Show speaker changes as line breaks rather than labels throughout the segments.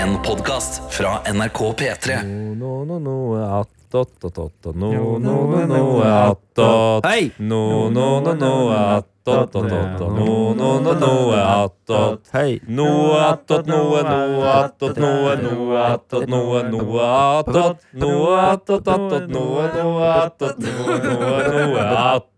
En podcast fra NRK P3
No, no, no, at, at, at, at, at, no,
Jo,
no, no, no, at, at.
Hei!
No, no, no, no, at, at, at, at, at, no, no, no, no, at, at.
Hei!
No, at, at, noe, no, at, at, noe, no, at, at, noe, noe, at, at. No, at, at, at, at, noe, noe, at, at, noe, noe, noe, at,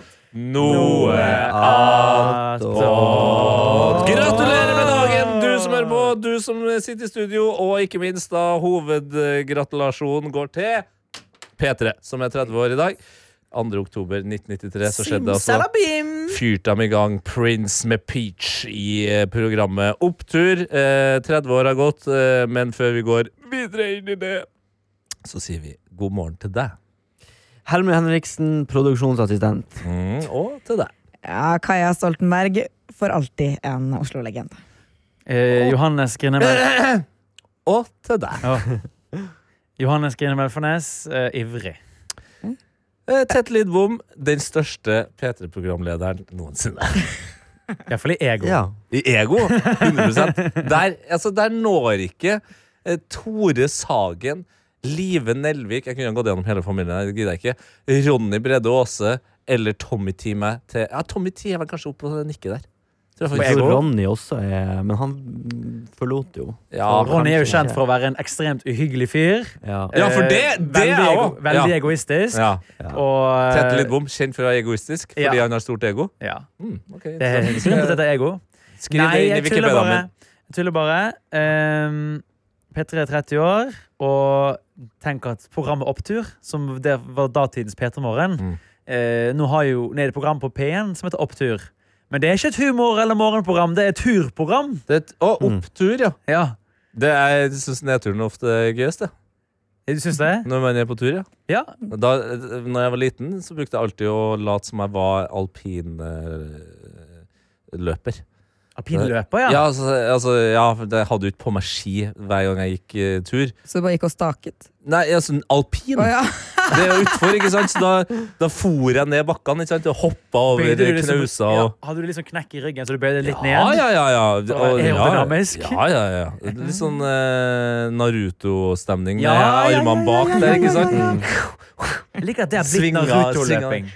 at. Noe, at, at. Gratulerer med dagen, du som hører på, du som sitter i studio, og ikke minst da hovedgratulasjonen går til P3, som er 30 år i dag. 2. oktober 1993 så skjedde det altså
Simsalabim!
fyrte de i gang Prince med Peach i eh, programmet Opptur. Eh, 30 år har gått, eh, men før vi går videre inn i det, så sier vi god morgen til deg.
Helmer Henriksen, produksjonsassistent.
Mm, og til deg.
Ja, Kaja Stoltenberg, for alltid en Oslo-legende.
Eh, Johannes Grinemel.
Og til deg.
Ja. Johannes Grinemel Fornes, eh, ivrig.
Eh, Tett Lidbom, den største P3-programlederen noensinne.
Iallfall i ego.
Ja.
I ego, 100 Der, altså, der når ikke eh, Tore Sagen, Live Nelvik Jeg kunne gått gjennom hele familien. Det gidder jeg ikke. Ronny Brede Aase eller Tommy Tee meg til Ja, Tommy Tee er vel kanskje oppe på det nikket der. Tror jeg
Og
Jeg
faktisk.
Ego.
tror Ronny også er Men han mm, forlot jo.
Ja,
Og Ronny er jo
kanskje
kjent for å være en ekstremt uhyggelig fyr.
Ja.
Ja, for det-
Eh,
det
veldig
er
ego,
også.
veldig
Ja.
egoistisk.
ja.
Og eh,
Tete Lidbom, kjent for å være egoistisk fordi
Ja.
han har stort ego.
Ja.
Mm, ok,
Det er
interessant.
grunnen til at dette er ego.
Skriv det inn i
jeg tuller
Wikipedia.
bare.
min.
Jeg tuller bare. Ehm, P3 er 30 år, og tenk at programmet Opptur, som det var datidens P3 Morgen
Mm.
eh, Nå har jo, nå er det et program på P1 som heter Opptur. Men det er ikke et humor- eller morgenprogram, det er et turprogram.
Det er et, å,
Mm.
opptur, ja.
Ja,
Det er, jeg syns nedturen er ofte er gøyest, det.
Du syns det?
Når man er på tur, ja.
Ja.
Da når jeg var liten, så brukte jeg alltid å late som jeg var alpinløper.
Alpinløper,
Ja,
ja.
altså, altså ja, for jeg hadde jo ikke på meg ski hver gang jeg gikk eh, tur.
Så du bare gikk og staket?
Nei, altså alpin!
Å ja.
Det er jo utfor, ikke sant? Så da, da for jeg ned bakkene ikke sant? og hoppa over
Bøyde du liksom-
knauser
ja.
og
Hadde du liksom knekk i ryggen, så du bøyde litt
ja,
ned?
ja, ja, ja.
For å være
ja,
aerodynamisk.
Ja, ja, ja. Litt sånn eh, Naruto-stemning med
Ja, ja, ja,
armene bak
ja, ja,
der,
ja,
ikke sant?
ja, Jeg liker at det har blitt
Svinga-
Naruto-løping.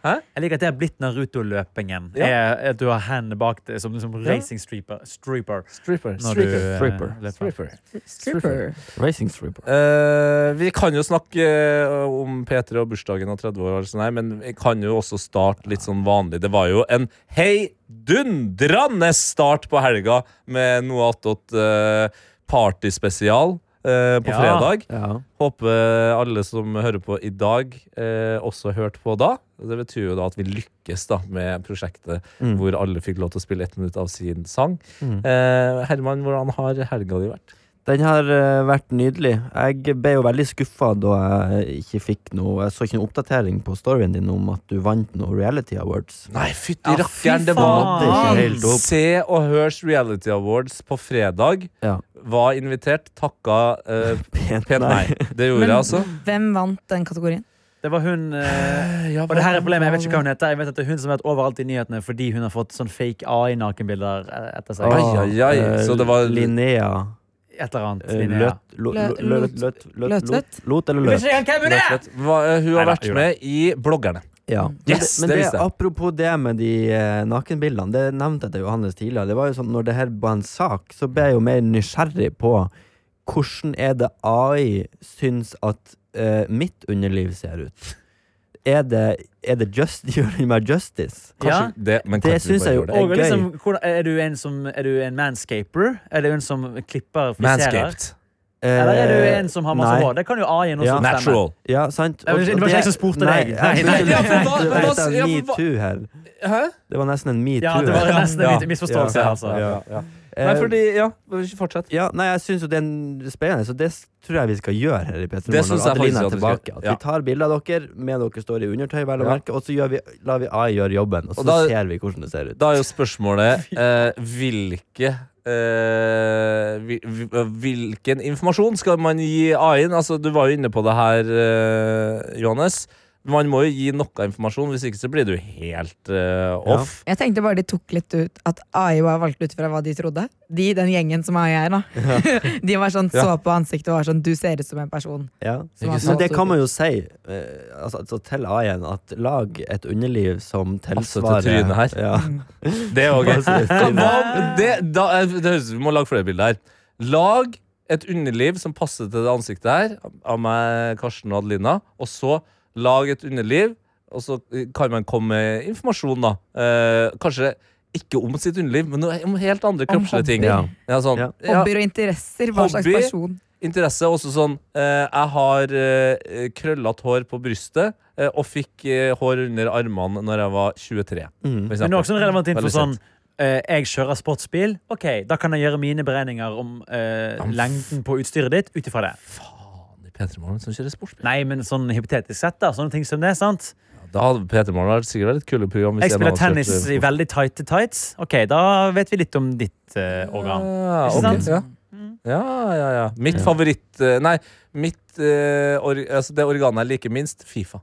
Hæ?
Jeg liker at det har blitt Naruto-løpingen.
Ja.
Er At du har hendene bak deg som, som racing striper. striper
Stripper.
når du, eh,
Striper.
løper.
Stripper.
Racing Stripper.
Eh, vi kan jo snakke eh, om P3 og bursdagen og 30 år, og sånn her, men vi kan jo også starte litt sånn vanlig. Det var jo en heidundrende start på helga med noe attåt eh, partyspesial eh, på
Ja.
fredag.
Ja.
Håper alle som hører på i dag, eh, også hørte på da. Det betyr jo da at vi lykkes da med prosjektet
Mm.
hvor alle fikk lov til å spille ett minutt av sin sang.
Mm.
Eh, Herman, hvordan har helga di vært?
Den har eh, vært nydelig. Jeg ble jo veldig skuffa da jeg ikke fikk noe Jeg så ikke noen oppdatering på storyen din om at du vant noen reality awards.
Nei, fytti
Ja, fy
rakkeren, det
faen.
var
Det er ikke helt opp.
Se og Hørs Reality Awards på fredag.
Ja.
Var invitert, takka eh,
Pent
pent nei. Det gjorde
Men-
jeg, altså.
Hvem vant den kategorien?
Det var hun eh, Og det her er problemet. Jeg vet ikke hva hun heter. Jeg vet at det er hun som har vært overalt i nyhetene fordi hun har fått sånn fake AI-nakenbilder eh, etter seg.
Ai, ai, ai.
eh,
Så det var-
Linnea
Et eller annet.
eh,
Linnea.
Løt lo-
Lø-
lo- lø-
Lot-
Løt Løt-
Løtvedt?
Lot- Lot eller
Jeg
Løt?
vet ikke hvem hun er!
Rett og slett. Hva- eh, Hun har
Neida,
vært
gjorde
med i Bloggerne.
Ja.
Yes, det
Mm. men det, men
visste jeg.
det, apropos det med de eh, nakenbildene, det nevnte jeg til Johannes tidligere. Det var jo sånn, Når det her var en sak, så ble jeg jo mer nysgjerrig på hvordan er det AI syns at eh, mitt underliv ser ut. Er det, er det just, gjør den meg justice?
Kanskje
Ja.
det, men
Det
kanskje vi
synes
bare
jeg jo
gjorde
Og
Det er gøy.
liksom, hvordan- er du en som Er du en manscaper? Er du en som klipper og
det.
friserer?
Manscaped.
Eh,
Eller er du en som har masse
nei.
hår? Det kan jo AI-en også
Ja.
bestemme.
Natural.
Ja, sant.
Nei, men det var ikke jeg som spurte deg. Nei,
Nei,
nei,
det
ja, for hva-
var
hva-
nesten
ja, for hva-
en metoo her.
Hæ?
Det var nesten en metoo.
Ja, det var
her.
nesten en
Ja.
liten misforståelse.
Ja.
Altså.
Ja, ja.
Eh,
Nei, fordi Ja, fortsett.
Ja, nei, jeg syns jo det er spennende, så det s- tror jeg vi skal gjøre her i P3
Det synes
Morgen.
jeg
Når Adelina
faktisk
er
at vi skal
tilbake.
gjøre,
At
ja.
vi tar bilder av dere med dere står i undertøy, vel å
Ja.
merke, og så gjør vi, lar vi AI gjøre jobben. Og så
Og da-
ser vi hvordan det ser ut.
Da er jo spørsmålet eh, hvilke eh, hvil- hvil- Hvilken informasjon skal man gi AI-en? Altså, du var jo inne på det her, eh, Johannes. Man må jo gi noe informasjon, hvis ikke så blir du helt eh, off.
Jeg tenkte bare de tok litt ut at AI var valgt ut fra hva de trodde. De, den gjengen som AI er, da. de var sånn, så på ansiktet og var sånn Du ser ut som en person.
Ja.
Som
Ikke
har
Men
valgt
det
ut.
kan man jo si eh, altså, altså, til AI-en, at lag et underliv som
Altså til
tilsvarer
trynet her. Mm.
Ja.
Det er også gøy. Hva
Bare-
om det, da, eh, det høres ut som vi må lage flere bilder her. Lag et underliv som passer til det ansiktet her, av meg, Karsten og Adelina. Og så lag et underliv, og så eh, kan man komme med informasjon, da. Eh, kanskje ikke om sitt underliv, men noe- om helt andre
Om
kroppslige ting.
hobbyer.
Ja, sånn.
Ja.
Ja,
Hobbyer og interesser. Hva slags
Hobby.
person.
altså.
interesse også sånn eh, Jeg har eh, krøllete hår på brystet, eh, og fikk eh, hår under armene når jeg var 23.
Mm.
for
Men det er
eksempel.
også en relevant info
Veldig
sånn
sant.
eh, Jeg kjører sportsbil. Ok, Da kan jeg gjøre mine beregninger om eh,
Jamen,
lengden på utstyret ditt ut ifra det.
Faen, det er P3 Morgen som kjører sportsbil.
Nei, men sånn hypotetisk sett, da. Sånne ting som det. sant?
Da hadde Peter Morgen vært sikkert vært et kule program. hvis
Jeg
en
spiller
hadde kjørt,
tennis
eh,
i veldig tighte tights. Ok, da vet vi litt om ditt eh, organ.
Ja,
Ikke
ok,
sant?
Ja.
Mm.
ja, ja, ja. Mitt favoritt eh, Nei, mitt eh, or, altså det organet jeg liker minst, Fifa.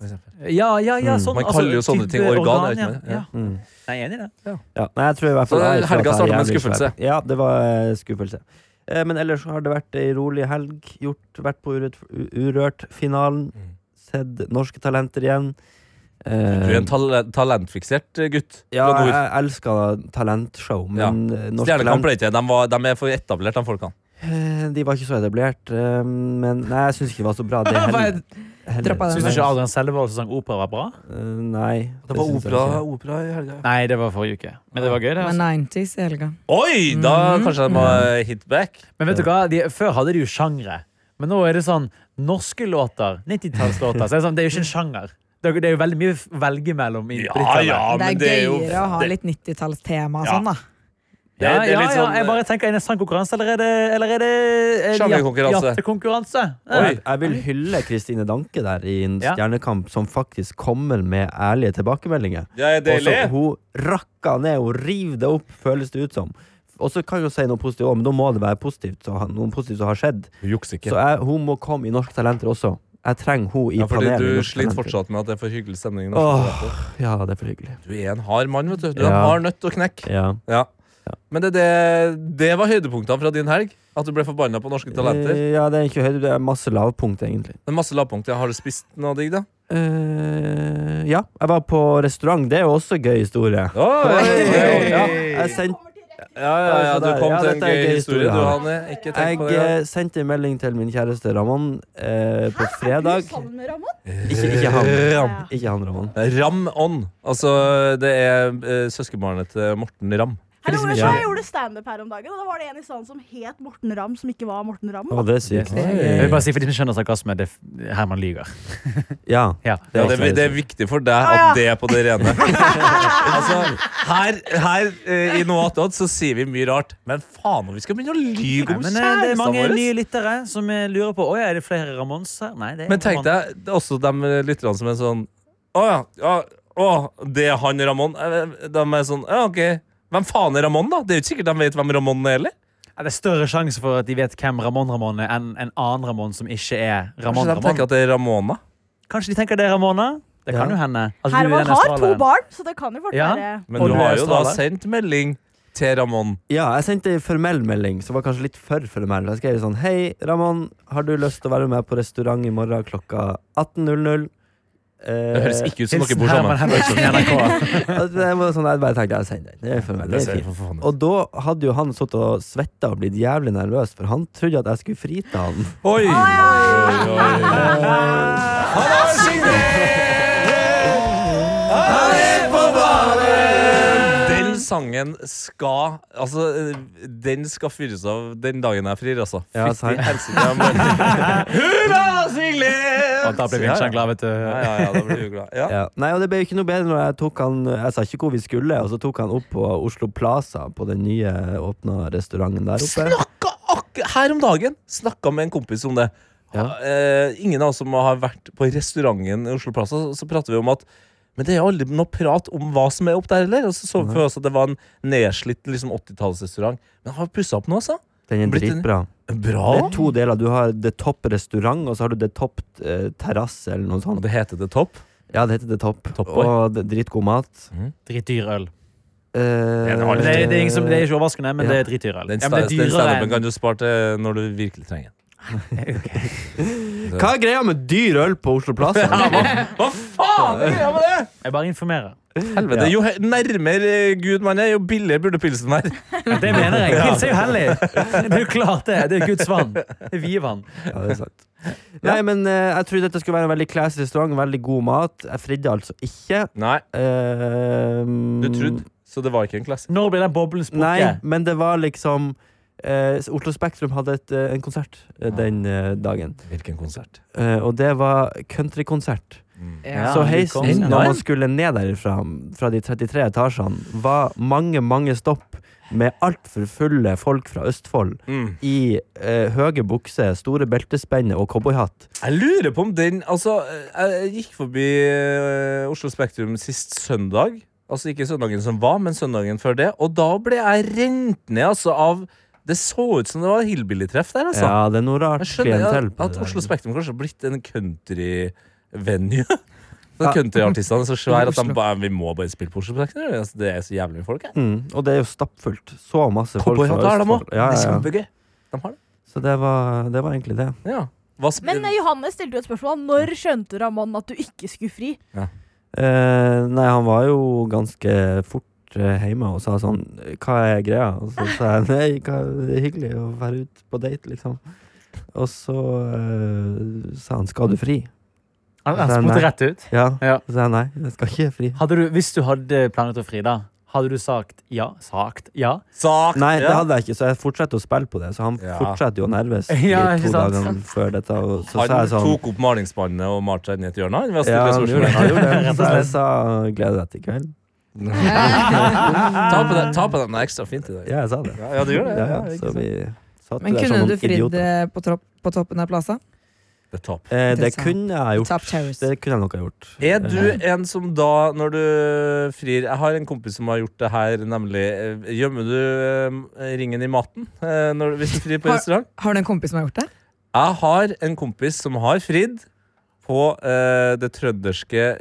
For eksempel.
Ja, ja, ja,
Mm,
sånn,
man kaller jo sånne
type
ting organ, jeg vet
ja.
ikke, men-
Ja.
ja.
Mm.
Nei, Jeg er enig i det.
Ja, nei, jeg tror i hvert fall
Så
jeg tror at
helga
jeg er
startet med en
jævlig
skuffelse.
svær. Ja, det var eh, skuffelse. Eh, Men ellers har det vært ei rolig helg. Gjort, vært på Urørt- U- Urørt-finalen.
Mm.
Sett norske talenter igjen. Eh,
Du er en tale talentfiksert eh, gutt
ja,
fra
jeg
nord.
elsker talentshow, men eh, norske
Stjernekamp
talent
ble ikke. De, var, de er for etablert, de folkene.
eh, De var ikke så etablert. eh, Men nei, jeg syns ikke det var så bra, det
Bare
heller. heller.
droppa
Syns
den
du
der.
ikke Adrian Selvold som sang opera, var bra?
Eh, Nei.
Det var
syns jeg
opera,
ikke.
opera i helga.
Nei, det var forrige uke. Men det var gøy, det.
Med
Altså.
90s i helga.
Oi! Da
Mhm.
kanskje de må eh, hit back.
Men vet du hva? De, før hadde de jo sjangre. Men nå er det sånn norske låter, 90-tallslåter. Så det er, sånn, det er jo ikke en sjanger. Det er, det er jo veldig mye å velge mellom. I, på
Ja,
90-tallet.
ja,
det er
men det er jo
gøyere å ha
det-
litt 90-tallstema og
Ja.
sånn, da.
Det-
Ja,
det er
ja,
litt
ja,
sånn,
jeg bare tenker Er det en sann konkurranse, eller er det, eller er det eh,
Sjangerkonkurranse.
jattekonkurranse?
Oi.
Ja.
Jeg vil hylle Kristine Danke der i en
Ja.
stjernekamp som faktisk kommer med ærlige tilbakemeldinger.
Det er
Og så
deilig.
hun rakka ned, hun river det opp, føles det ut som. Og så kan hun si noe positivt også, men da må det være positivt, så, ha- noe positivt som har skjedd.
Hun jukser
Så jeg, hun må komme i Norske Talenter også. Jeg trenger hun i
Ja, fordi
panelet. i
du
Norske
sliter
Talenter.
fortsatt med at det er for hyggelig stemning. i norsk
Åh,
teater.
ja, det er for hyggelig.
Du er en hard mann, vet du. Du er
Ja.
en hard nøtt å knekke.
Ja.
Ja. Men det, det, det var høydepunktene fra din helg. At du ble forbanna på norske talenter.
Eh, Ja, det er ikke høyde, det er masse lavpunkt, egentlig.
Men masse lavpunkter. Har du spist noe digg, da?
Eh, ja, jeg var på restaurant. Det er jo også en gøy historie. Eh,
Oi!
Ja,
Ja,
jeg sendte
ja, ja, ja, du kom
Ja,
til en
dette er en
gøy
gøy
historie,
historie,
du,
ja.
Hanne. Ikke tenk
Jeg
på det.
eh, sendte en melding til min kjæreste Ramon eh, på fredag.
Sammen med Ramón?
Ikke, ikke han.
Ram.
Ikke han, Ramon.
Ram On. Altså, det er eh, søskenbarnet til Morten Ram.
Hallo,
som
Lars,
ikke-
Jeg gjorde standup her om dagen, og da var det en i salen som het Morten Ramm, som ikke var Morten Ramm.
Å, det er sykt.
Jeg vil bare si for de som skjønner sarkasme, det er Herman lyver.
Ja.
Ja.
Ja, det,
også
det er viktig for deg at det er på det rene. altså, her, her eh, i Noe attåt så sier vi mye rart, men faen om vi skal begynne å lyve
Nei,
om
men eh, det er
kjærestene
mange nye
våre!
lyttere som eh, lurer på Åja, er det flere Ramons her. Nei, det er
Men tenk
Ramon.
deg det er også de lytterne som er sånn Å ja, ja å, det er han Ramón. Eh, De er sånn Ja, OK. Hvem faen er Ramón, da? Det er jo ikke sikkert de vet hvem Ramón er heller.
Ja, det er større sjanse for at de vet hvem Ramon Ramon er, enn en annen Ramon som ikke er Ramon
Kanskje de
Ramon.
tenker at det er Ramona.
Kanskje de tenker det er Ramona? Det kan
Ja.
jo hende. At du er
Herman
den
har to
australieren.
barn, så det kan jo fort
Ja.
være
Men
Og
du
du
har
er
jo da
australier.
sendt melding til Ramón.
Ja, jeg sendte en formell melding som var kanskje litt for formell. Jeg skrev sånn Hei, Ramon. Har du lyst til å være med på restaurant i morgen klokka 18.00? Eh,
Det høres ikke ut som dere
Hilsen
bor
Herman
sammen.
Henriksen i NRK.
at det var sånn, jeg bare tenkte jeg sender den. Det er formell. Det er fint. Og da hadde jo han sittet og svetta og blitt jævlig nervøs, for han trodde at jeg skulle fri til han.
Oi! oi, oi, oi. Han har signert! Han er på banen! Den sangen skal Altså, den skal fyres av den dagen jeg frir, altså.
Ja,
Fytti
sant.
helsike. jeg må- Hurra, Sigler!
Og da blir Vincent glad, vet du.
Ja, ja, ja, da blir du glad. Ja.
Ja. Nei, og det ble jo ikke noe bedre når jeg tok han Jeg sa ikke hvor vi skulle, og så tok han opp på Oslo Plaza, på den nye åpna restauranten der oppe.
Snakka akkur- her om dagen Snakka med en kompis om det
Ja.
eh, Ingen av oss som har vært på restauranten i Oslo Plaza Så prater vi om at Men det er jo aldri noe prat om hva som er opp der heller Og så så vi for oss at det var en nedslitt liksom 80-tallsrestaurant Men har pusset opp nå altså
Den er
Blitt en-
dritbra.
Bra!
Det er to deler. Du har The Top restaurant, og så har du The Top eh, terrasse, eller noe
Og
sånt.
det heter The Top.
Ja, det heter The Top.
Top Boy.
og det, dritgod mat.
Dritdyr øl.
Eh,
det har
Det, det, er ingen som, det er ikke overraskende, men
Ja.
det er dritdyr øl.
Den
Ja,
sta-
men det er
den
dyrere
standupen
enn
kan du spare til når du virkelig trenger den.
Hva er greia med dyr øl på Oslo Plass?
Hva faen er greia med det?!
Jeg bare informerer.
Helvete, Jo he- nærmere Gud man er, jo billigere burde pilsen være.
Det mener jeg. Pils er jo hellig. Det er jo klart det. Det er Guds vann. Det er vievann.
Ja, det er sant. Nei, men eh, jeg trodde dette skulle være en veldig classy restaurant, veldig god mat. Jeg fridde altså ikke.
Nei,
Eh,
du
Mm.
trodde, så det var ikke en klasse.
Når blir den boblen
Nei,
sprukket?
men det var liksom eh, Oslo Spektrum hadde et, eh, en konsert eh, den eh, dagen.
Hvilken konsert?
Eh, og det var countrykonsert.
Ja,
så
du
heisen
kom.
når man skulle ned derifra, fra de 33 etasjene, var mange, mange stopp med altfor fulle folk fra Østfold
Mm.
i eh, høye bukser, store beltespenner og cowboyhatt.
Jeg lurer på om den Altså, jeg jeg gikk forbi eh, Oslo Spektrum sist søndag. Altså ikke søndagen som var, men søndagen før det. Og da ble jeg rent ned altså, av Det så ut som det var hillbillytreff der, altså.
Ja, det er noe rart
Jeg skjønner at,
klientell. på
at
det der.
Oslo Spektrum kanskje har blitt en country-venue.
Ja.
Ja. Countryartistene er så svære at de
Oslo.
bare Vi må bare spille på Oslo Spektrum. Altså, det er så jævlig mye folk her.
Mm, og det er jo stappfullt. Så masse folk fra
Cowboyhatter har de
Østfold.
òg.
Ja,
Det er
ja, ja.
kjempegøy. De har det.
Så det var, det var egentlig det.
Ja. Hva sp-
Men eh, Johannes stilte jo et spørsmål. Når skjønte du av mannen at du ikke skulle fri?
Eh, nei, han var jo ganske fort eh, hjemme og sa sånn Hva er greia? Og så sa jeg nei, hva, det er hyggelig å være ute på date, liksom. Og så eh, sa han skal du fri?
Han han spurte rett ut.
Ja.
Ja.
Så sa jeg nei, jeg skal ikke fri.
Hadde du, hvis du hadde planlagt å fri, da, hadde du sagt ja? Sagt ja?
Sak!
Nei, det
Ja.
hadde jeg ikke, så jeg fortsatte å spille på det. Så han
Ja.
fortsatte jo å nerves
Ja,
de
ikke
to
sant?
dagene før dette. Og så sa
Han
jeg sånn
tok opp malingsspannet og malte seg inn i et hjørne. han, ved å
ja,
stille
han
spørsmål.
gjorde, han gjorde det.
Rett og
Så jeg
slett.
sa gleder deg til kvelden.
Eh,
ta, på den, ta på den det er ekstra fint i dag.
Ja, jeg sa det.
Ja, ja, du gjør det.
Ja, ja,
ikke
så
sant?
vi satt
Men
der
kunne
sånn
som
du
noen
fridd
idioter.
eh, på, topp, på toppen av plassa?
Det er topp.
Eh, det
Interessant.
kunne jeg gjort.
Top terrace.
Det kunne jeg nok ha gjort.
Er du en som da, når du frir Jeg har en kompis som har gjort det her, nemlig eh, Gjemmer du eh, ringen i maten eh, når, hvis du frir på
Har-
restaurant?
Har du en kompis som har gjort det?
Jeg har en kompis som har fridd på eh, det trønderske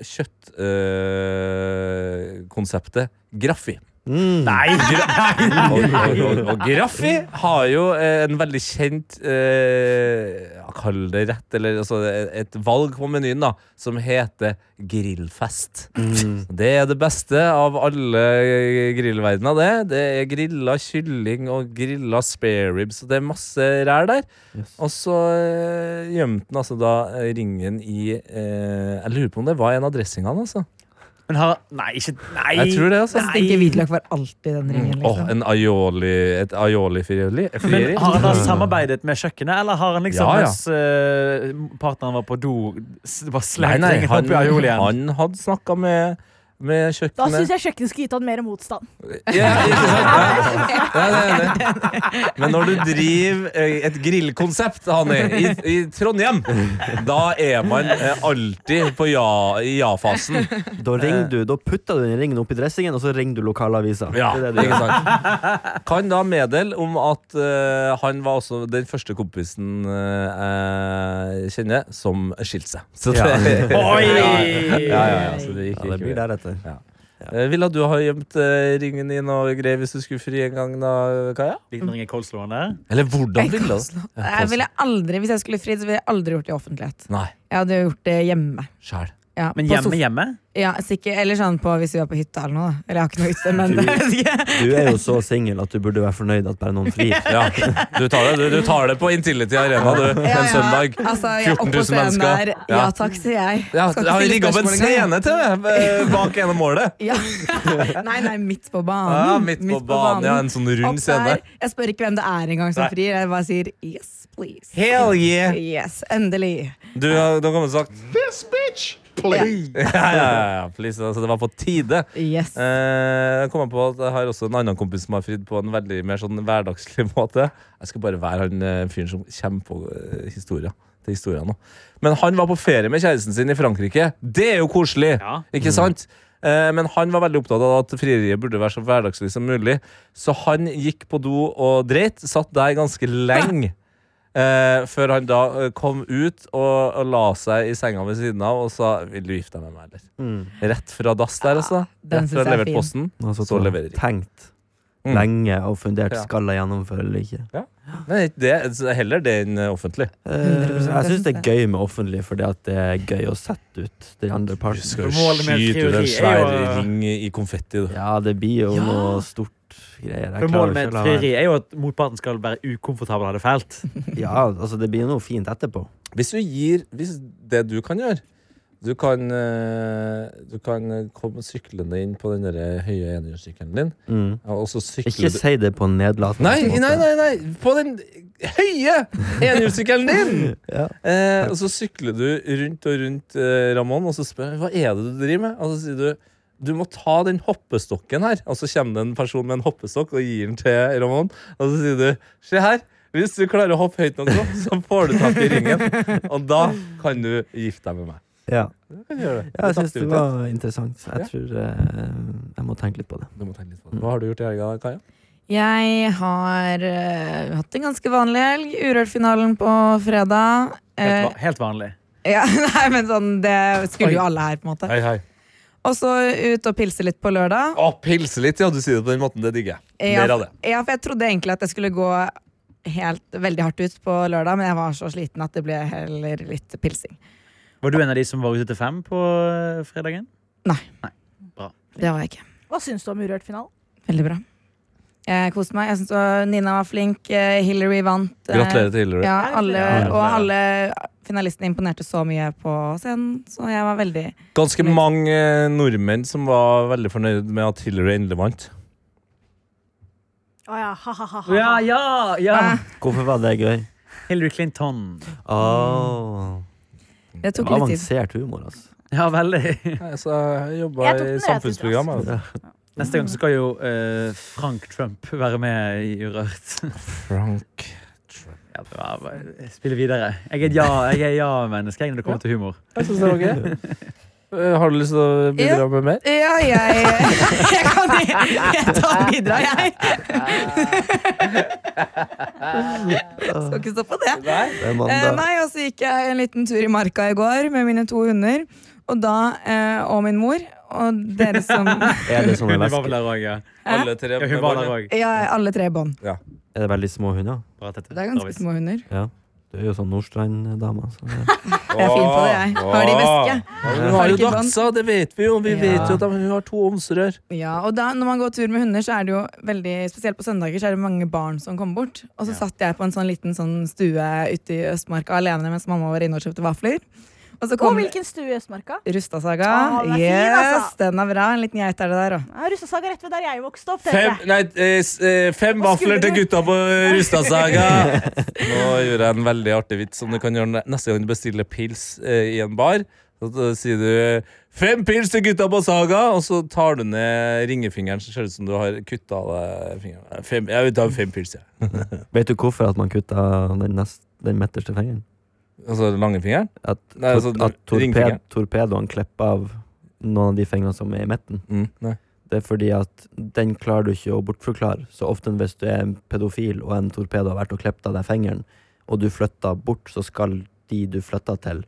kjøttkonseptet graffi.
Mm.
Nei! og, og, og, og graffi har jo eh, en veldig kjent eh, Kall det rett, eller altså, et valg på menyen, da, som heter grillfest.
Mm.
Det er det beste av alle grillverdener, det. Det er grilla kylling og grilla spareribs, og det er masse rær der.
Yes.
Og så eh, gjemte han altså da eh, ringen i eh, Jeg lurer på om det var en av dressingene, altså.
Men har Nei, ikke Nei!
Jeg tror det, altså.
Jeg tenker hvitløk var alltid den ringen.
Mm. Åh,
Liksom.
en aioli Et aioli-frieri?
Men
frieri?
har han da samarbeidet med kjøkkenet, eller har han liksom
Ja, ja.
mens eh, partneren var på do, s-
Nei,
bare slengt
nei,
ringen
han,
oppi aiolien?
han hadde snakka med, med
Da syns
kjøkkenet.
jeg kjøkkenet skulle gitt han mer motstand.
Ja, ikke sant? Ja. Nei, nei, nei. Men når du driver eh, et grillkonsept, Hanni, i, i Trondheim, da er man eh, alltid på ja, i ja-fasen.
Da ringer du, da putter du den ringen opp i dressingen, og så ringer du lokalavisa.
Ja,
Det er det du
ikke
gjør.
sant Kan da meddele om at eh, han var også den første kompisen eh, jeg kjenner som skilte seg. Så det,
Oi!
ja, ja, ja, så det gikk
Ja, det blir
ikke.
deretter.
Eh, Ville du ha gjemt eh, ringen din og greier hvis du skulle fri en gang, da, Kaja?
Liten ring i coleslawen der.
Eller hvordan ville du?
Coleslaw. Jeg ville aldri, hvis jeg skulle fridd, så ville jeg aldri gjort det i offentlighet.
Nei,
Jeg hadde gjort det hjemme.
sjæl.
Ja,
Men
på
hjemme,
sofa-
hjemme?
Ja, sikkert, Eller sånn på, hvis vi var på hytta eller noe. da. Eller jeg har ikke noe hytte, men det vet ikke.
Du er jo så singel at du burde være fornøyd at bare noen frir.
Ja, du tar, det, du, du tar det på Intility Arena du,
Ja, ja.
en søndag.
Altså, jeg
14 000
er oppe på scenen
mennesker.
der.
Ja.
Ja takk, sier jeg.
Ja,
Skal ikke
jeg har
stille
rigga opp en
spørsmål engang.
scene til det eh, bak ene målet.
Ja. Nei, nei, midt på banen.
Ja, midt på banen. Ja, en sånn
Opp
rund scene.
der. Jeg spør ikke hvem det er engang som
Nei.
frir. Jeg bare sier yes, please.
Hell yeah!
Yes, endelig.
Du, har- da kan man sagt ja, ja, ja, please. Altså, det var på tide.
Yes.
Eh, jeg kom på at jeg har også en annen kompis som har fridd på en veldig mer sånn hverdagslig måte. Jeg skal bare være han eh, fyren som kommer på eh, historia. Til historia nå. Men han var på ferie med kjæresten sin i Frankrike. Det er jo koselig!
Ja.
Ikke sant? Eh, men han var veldig opptatt av at frieriet burde være så hverdagslig som mulig. Så han gikk på do og dreit, satt der ganske lenge. Eh, før han da eh, kom ut og, og la seg i senga ved siden av og sa 'Vil du gifte deg med meg', eller?
Mm.
Rett fra dass der, altså.
den
Rett fra
synes jeg er fin.
levertposten.
Altså,
Så leverer de.
Tenkt
Mm.
lenge og fundert
Ja.
skal jeg gjennomføre eller ikke.
Nei, det, heller det enn eh, offentlig.
Eh,
100%
jeg syns det
jeg.
er gøy med offentlig, fordi at det er gøy å sette ut den andre
Du
parten.
skal jo
Målet med
skyte ut
frieri
en
er
svær
jo-
ring i i konfetti. du.
Ja, det blir jo
Ja.
noe stort greier. Jeg
For målet
klarer
med
ikke
et
å la være.
frieri er jo at motparten skal være ukomfortabel og ha det fælt.
Ja, altså, det blir noe fint etterpå.
Hvis du gir hvis det du kan gjøre Du kan, eh, du kan eh, komme syklende inn på den der høye enhjørnssykkelen din,
Mm.
og så
Ikke
sykler du
si det på en nedlatende
Nei,
måte.
nei, nei, nei! På den høye enhjørnssykkelen din!
Ja.
Eh, og så sykler du rundt og rundt eh, Ramón, og så spør han hva er det du driver med. Og så sier du du må ta den hoppestokken her. Og så kommer det en person med en hoppestokk og gir den til Ramón. Og så sier du se her, hvis du klarer å hoppe høyt nok, nå, så får du tak i ringen. Og da kan du gifte deg med meg.
Ja.
Du kan gjøre det. Det er
Ja, jeg syns det
aktivitet.
var interessant.
Ja.
Jeg tror eh, jeg må tenke litt på det.
Du må tenke litt på det. Hva har du gjort i helga, Kaja?
Jeg har eh, hatt en ganske vanlig helg. Urørt-finalen på fredag. Eh,
Helt, va- helt vanlig.
ja, nei, men sånn, det skulle jo
Oi.
alle her, på en måte.
Hei, hei.
Og så ut og pilse litt på lørdag.
Å, pilse litt, ja. Du sier det på den måten. Det digger jeg.
Ja,
Mer av det.
Ja, for jeg trodde egentlig at jeg skulle gå helt veldig hardt ut på lørdag, men jeg var så sliten at det ble heller litt pilsing.
Var du en av de som var ute til fem på eh, fredagen?
Det var jeg ikke.
Hva syns du om Urørt-finalen?
Veldig bra. Jeg koste meg. Jeg synes det var- Nina var flink. eh, Hillary vant. eh,
Gratulerer til Hillary.
Ja, alle,
Gratulerer.
og alle finalistene imponerte så mye på scenen, så jeg var veldig
Ganske mange eh, nordmenn som var veldig fornøyd med at Hillary endelig vant.
Å ja, ha-ha-ha.
Ja, Ah. ja, ja!
Hæ?
Hvorfor var det gøy?
Hillary Clinton.
Oh.
Det tok litt tid.
Avansert humor, altså.
Ja, veldig.
Nei, så altså, jeg jobba
Jeg tok
i
den, jeg,
samfunnsprogram. altså.
til
Jeg,
Neste gang så skal jo eh, Frank Trump være med i Urørt.
Frank
Ja, bare eh, Spille videre. Jeg er et ja- jeg er et ja-menneske ja når det kommer til humor.
Jeg syns det var gøy. Eh, Har du lyst til å bidra med mer?
Ja, jeg, jeg kan jeg tar bidrag, jeg. Skal ikke stå på det.
Det er
Eh,
mandag.
nei, og så gikk jeg en liten tur i marka i går med mine to hunder. Og da, eh, og min mor. Og dere som
Er det sånne
Hun var vel
vesker?
der òg, ja.
Alle tre
Ja, Hun
med
var
barn, ja.
der òg.
Ja, alle tre i bånd.
Er det veldig små hunder?
Det er ganske små hunder.
Du er jo sånn Nordstrand-dame. Så det-
Jeg er fin på det, jeg. Har de væske?
Ja, men Hun har jo
Fargebånd.
dagsa, det vet vi jo. Vi
Ja.
vet jo at hun har to omsorør.
Ja, og da, når man går tur med hunder, så er det jo veldig Spesielt på søndager så er det mange barn som kommer bort. Og så satt jeg på en sånn liten sånn stue ute i Østmarka alene mens mamma var inne og kjøpte vafler. Og så
Og
kom
hvilken stue i Østmarka?
Rustasaga.
Ah, den er fin,
yes,
altså.
den er bra. En liten geit er det der òg.
Ja, Russesaga rett ved der jeg vokste opp.
Fem,
Fem.
nei, eh, s- eh, fem
Hva
vafler
skulle
til
du?
gutta på Rustadsaga! Nå gjorde jeg en veldig artig vits som du kan gjøre ne- neste gang du bestiller pils eh, i en bar. Så t- sier du 'fem pils til gutta på Saga', og så tar du ned ringefingeren. Så ser det ut som du har kutta av deg fingeren. Fem, jeg vil ta fem pils, jeg.
Vet du hvorfor at man kutta den, nest, den midterste fingeren?
Altså langfingeren?
At,
Nei, altså,
tor- at torped,
ringfingeren.
torpedoen klipper av noen av de fingrene som er i midten.
Mm, nei.
Det er fordi at den klarer du ikke å bortforklare. Så ofte hvis du er en pedofil og en torpedo har vært og klippet av deg fingeren, og du flytter bort, så skal de du flytter til,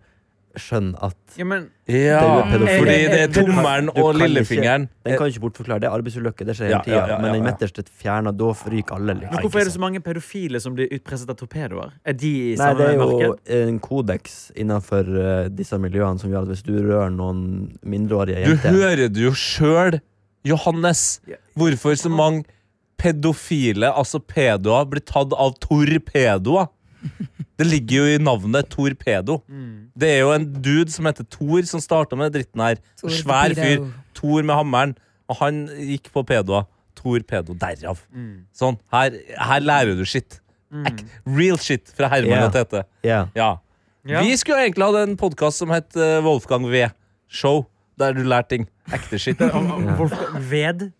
skjønne at
Ja, men
Ja,
Det er jo pedofili.
fordi det er
Du kan-
tommelen
du
og
kan ikke-
lillefingeren.
Den kan jo ikke bortforklare. Det er arbeidsulykke, det skjer
Ja,
hele
ja,
tida.
ja,
Men
ja,
den
ja.
midterste fjerna, da ryker alle. Liksom.
Men hvorfor er det så mange pedofile som blir utpresset av torpedoer? Er de i
Nei,
samme
det er jo
marked?
en kodeks innenfor eh, disse miljøene som gjør at hvis du rører noen mindreårige
Du
jenter
hører det jo sjøl, Johannes.
Ja.
Hvorfor så mange pedofile, altså pedoer, blir tatt av torpedoer? Det ligger jo i navnet torpedo.
Mm.
Det er jo en dude som heter Tor, som starta med den dritten her.
Tor
Svær fyr.
Torpedo.
Tor med hammeren. Og han gikk på pedoer. Torpedo. Derav.
Mm.
Sånn. Her, her lærer du shit. Ek- Real shit fra Herman
Ja.
og Tete.
Ja.
Ja.
Ja.
Vi skulle egentlig hatt en podkast som het eh, Wolfgang V. Show. Der du lærte ting. Ekte shit.
Om- om Wolfgang Ved?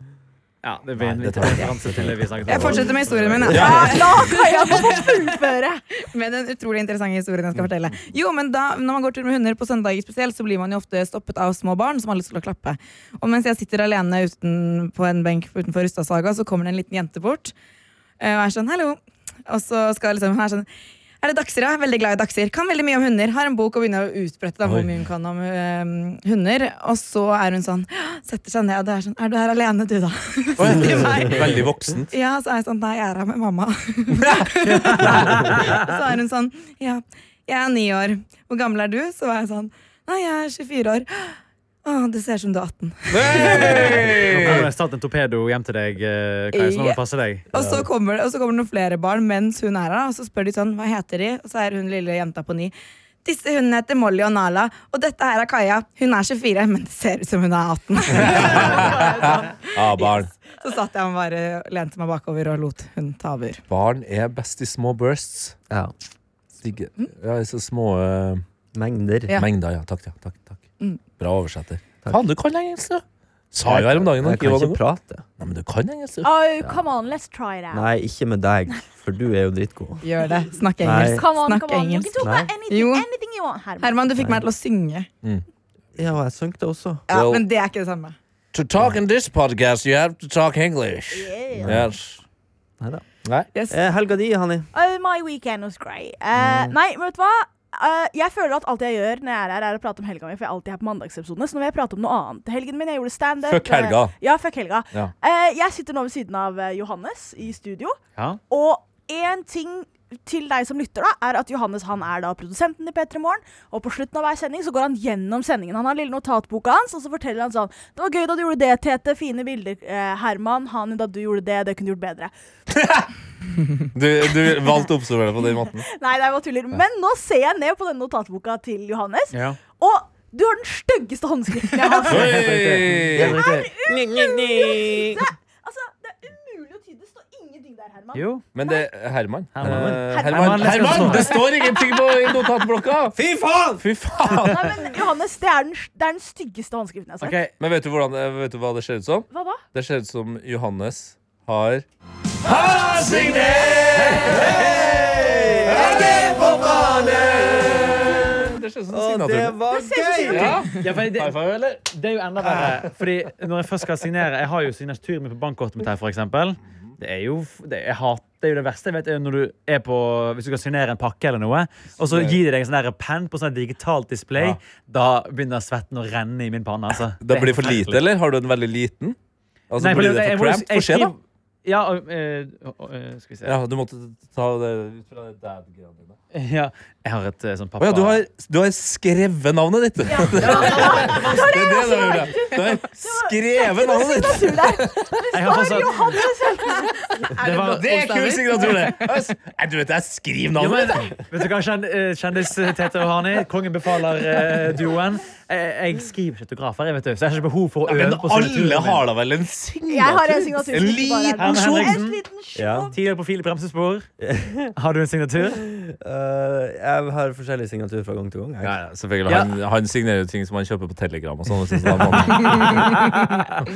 Ja, det
Nei,
blir en
det
liten
tar vi.
referanse til det vi snakket om.
Jeg fortsetter med historien min. jeg.
Ja, da kan jeg få fullføre!
Med den utrolig interessante historien jeg skal fortelle. Jo, men da, Når man går tur med hunder på søndager spesielt, så blir man jo ofte stoppet av små barn som har lyst til å klappe. Og mens jeg sitter alene uten, på en benk utenfor Rustadsaga, så kommer det en liten jente bort eh, og er sånn 'hallo'. Og så skal liksom hun er sånn er det dachser, ja? Veldig glad i dachser. Kan veldig mye om hunder. Har en bok og begynner å utbrette da, hvor
Oi.
mye hun kan om eh, hunder. Og så er hun sånn, setter seg ned og det er sånn Er du her alene, du, da? Sier meg.
Veldig voksent.
Ja, så er jeg sånn Nei, jeg er her med mamma. så er hun sånn Ja, jeg er ni år. Hvor gammel er du? Så var jeg sånn Nei, jeg er 24 år. Å, det ser ut som du er 18.
Nå
Hey!
kommer det snart en torpedo hjem til deg, eh, Kai, så nå må
Ja.
du passe deg.
Og så kommer det, og så kommer det noen flere barn mens hun er her, og så spør de sånn Hva heter de? Og så er hun lille jenta på ni. Disse hundene heter Molly og Nala, og dette her er Kaja. Hun er 24, men det ser ut som hun er 18.
Ja, barn.
så satt jeg og bare lente meg bakover og lot hun ta over.
Barn er best i små bursts.
Ja.
Digge. Ja, i så små eh,
Mengder.
Mm. Ja.
mengder. Ja, takk, ja. Takk, takk.
Mm.
Bra oversetter. Faen, du kan engelsk, du! Sa jo her om dagen.
Jeg kan
ikke
ikke prate.
Nei, men du kan engelsk, du.
Ah.
Oh, come on, let's try it out.
Nei, ikke med deg, for du er jo dritgod.
Gjør det. Snakk
Nei.
engelsk.
Come on,
Snakk
come on. You
engelsk.
can talk
Nei.
about anything,
Jo.
anything you want, Herman.
Herman, du fikk meg til å synge.
Ja, og jeg sank det også.
Ja,
Well-
Men det er ikke det samme.
To talk in this podcast, you have to talk English.
Yeah.
Yes.
Neida.
Nei.
Yes.
Eh, helga di, Hanni.
Oh, my weekend was great. Eh,
Mm.
Nei, men vet du hva? Eh, jeg føler at alt jeg gjør når jeg er her, er å prate om helga mi, for jeg er alltid her på mandagsepisodene. Så nå vil jeg prate om noe annet. Helgen min, jeg gjorde standup.
Fuck helga.
Eh, Ja, fuck helga.
Ja.
Eh, jeg sitter nå ved siden av eh, Johannes i studio,
Ja.
og én ting til deg som lytter, da, er at Johannes han er da produsenten i P3 Morgen. Og på slutten av hver sending så går han gjennom sendingen. Han har lille notatboka hans, og så forteller han sånn Det var gøy da du gjorde det, Tete. Fine bilder, eh, Herman. Han, da du gjorde det. Det kunne du gjort bedre.
Du, du valgte å oppsummere det på den måten.
Nei, det var tuller. Men nå ser jeg ned på den notatboka til Johannes,
Ja.
og du har den styggeste håndskriften jeg har sett.
Helt riktig. Helt riktig.
Altså, det er umulig å tyde. Det står ingenting der, Herman.
Jo.
Men det Herman.
Herman.
Eh, Herman,
Herman.
Herman, let's
Herman,
go.
det står ingenting på i notatblokka! Fy faen! Fy faen!
Nei, men Johannes, det er den, det er den styggeste håndskriften jeg har sett.
Ok,
Men vet du, hvordan, eh, vet du hva det ser ut som?
Hva da?
Det ser ut som Johannes har Har signert! Er det på banen? Det ser ut som en signatur.
var gøy!
Ja.
ja, fordi det,
High five, eller?
det er jo enda verre. Fordi når jeg først skal signere Jeg har jo signaturen min på bankkortet mitt her, for eksempel. Det er jo det, jeg hat, det, er jo det verste jeg vet, er jo når du er på Hvis du skal signere en pakke eller noe, og så gir de deg en sånn der penn på sånn her digitalt display,
Ja.
da begynner svetten å renne i min panne. Altså.
Det blir for
helt
lite, eller? Har du en veldig liten? Altså,
Nei, for
blir
det-
det
jeg
for
må jo-
cramped? Få
jeg
se, da.
skriver- Ja, og, eh, og, eh, skal vi se.
Ja, du måtte ta det ut fra dad-greiene dine.
Ja, jeg har et eh, sånn
Å
pappa...
ja, du har, du har skrevet navnet ditt! Ja, det er det du har gjort. Du har skrevet navnet ditt!
Signatur der.
jeg har fortsatt,
Johannes,
det var,
Det er kul signatur, det! Nei, du vet, jeg skriver
Ja,
navnet
men,
ditt!
vet du hva, kjen- eh, kjendis eh, Tete og Hani, kongen befaler-duoen. jeg, Eh, jeg skriver ikke autografer, jeg vet du, så jeg har ikke behov for å
Men
øve på
alle har da vel en signatur?
jeg har en signatur.
En
som ikke
liten
bare er den.
sjokk.
En liten sjokk.
Ja.
Tidligere på Filip bremsespor. Har du en signatur?
Eh, jeg har forskjellig signatur fra gang til gang. Jeg.
selvfølgelig.
Ja.
Han, han signerer jo ting som han kjøper på Telegram og sånn. og sånn, så da må han-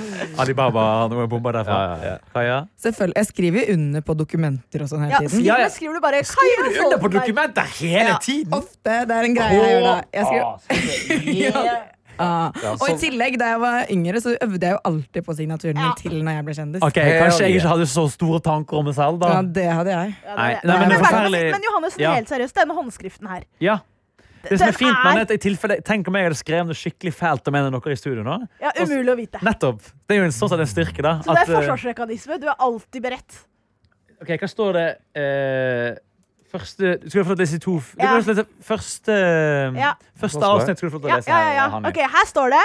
Alibaba har noen bomber derfra.
Ja, ja,
Kaja?
Selvfølgelig, Jeg skriver jo under på dokumenter og sånn hele
Ja,
tiden.
Ja, ja.
skriver, skriver du bare Kaja Stoltenberg.
dokumenter hele tiden!
Ofte. Det er en greie jeg gjør da. Jeg skriver,
ah,
Ja.
ah. Og i tillegg, da jeg var yngre, så øvde jeg jo alltid på signaturen min til når jeg ble kjendis.
Ok, Kanskje jeg ikke hadde så store tanker om meg selv,
Ja,
da.
det hadde jeg.
Ja, det er
Nei, nei, men
det. men,
det er
Johannes,
forferdelig.
men Johannessen,
Ja.
helt seriøst, denne håndskriften her
Ja. Det som
Den
er fint med
er-
dette, i tilfelle, Tenk om jeg hadde skrevet noe skikkelig fælt om en av dere i studio nå.
ja, Umulig å vite.
Nettopp. Det er jo en sånn sett en styrke, da.
Så
at,
det er
eh,
forsvarsmekanisme. Du er alltid beredt.
Ok, hva står det eh, Første Skal du få lov til å lese to f-
Ja.
Du kan få lov til å lese første eh,
Ja.
Første avsnitt skal du få lov til å
Ja,
lese
ja, ja, ja.
Hanni.
Ok, her står det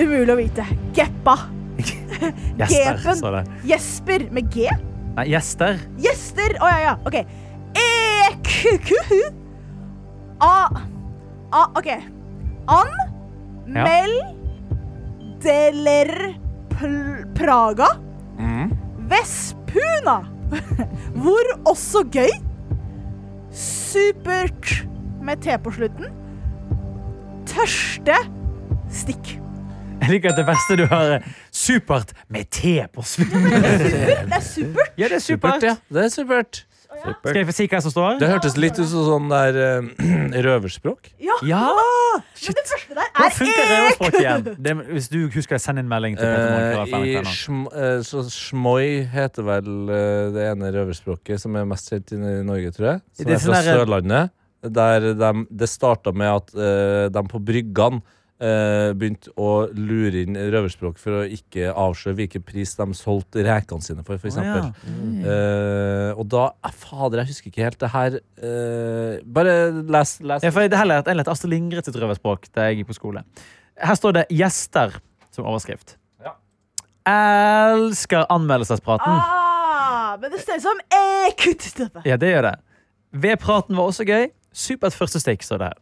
Umulig å vite. Geppa.
Gjester,
Gepen.
sa det.
Jesper med G.
Nei, gjester.
Gjester. Å ja, ja. OK. EQQU. A. A. OK. An.
Ja.
Mel. Deler. Pl Praga. Vespuna. Hvor også gøy. Supert med T på slutten. Tørste. Stikk.
Jeg liker at det verste du har eh, supert med te på slutten.
Det er supert!
Ja, det er supert.
ja. Det er supert.
Skal jeg få si hva som står?
Det hørtes litt ut som sånn der eh, røverspråk.
Ja,
Ja!
Men eh. det første der
Nå
er
funker røverspråket igjen. Det, hvis du husker det, send en melding til
Eh,
Peter
I
Morgen.
shm, eh, så Schmoi heter vel eh, det ene røverspråket som er mest kjent i N- Norge, tror jeg. Som
Det er
er fra
sånn der-
Sørlandet. Der dem- det starta med at eh, de på bryggene eh, begynte å lure inn røverspråk for å ikke avsløre hvilken pris de solgte rekene sine for, f.eks.
ja. Mm.
Eh, og da eh, Fader, jeg husker ikke helt. Det her eh, Bare les. les.
Ja, for jeg har lært, jeg lærte Astrid Lindgren sitt røverspråk da jeg gikk på skole. Her står det 'gjester' som overskrift.
Ja.
Elsker anmeldelsespraten.
ah, Men det ser ut som ekuttstøtte.
Ja, det gjør det. Ved praten var også gøy. Supert første stikk, står det her.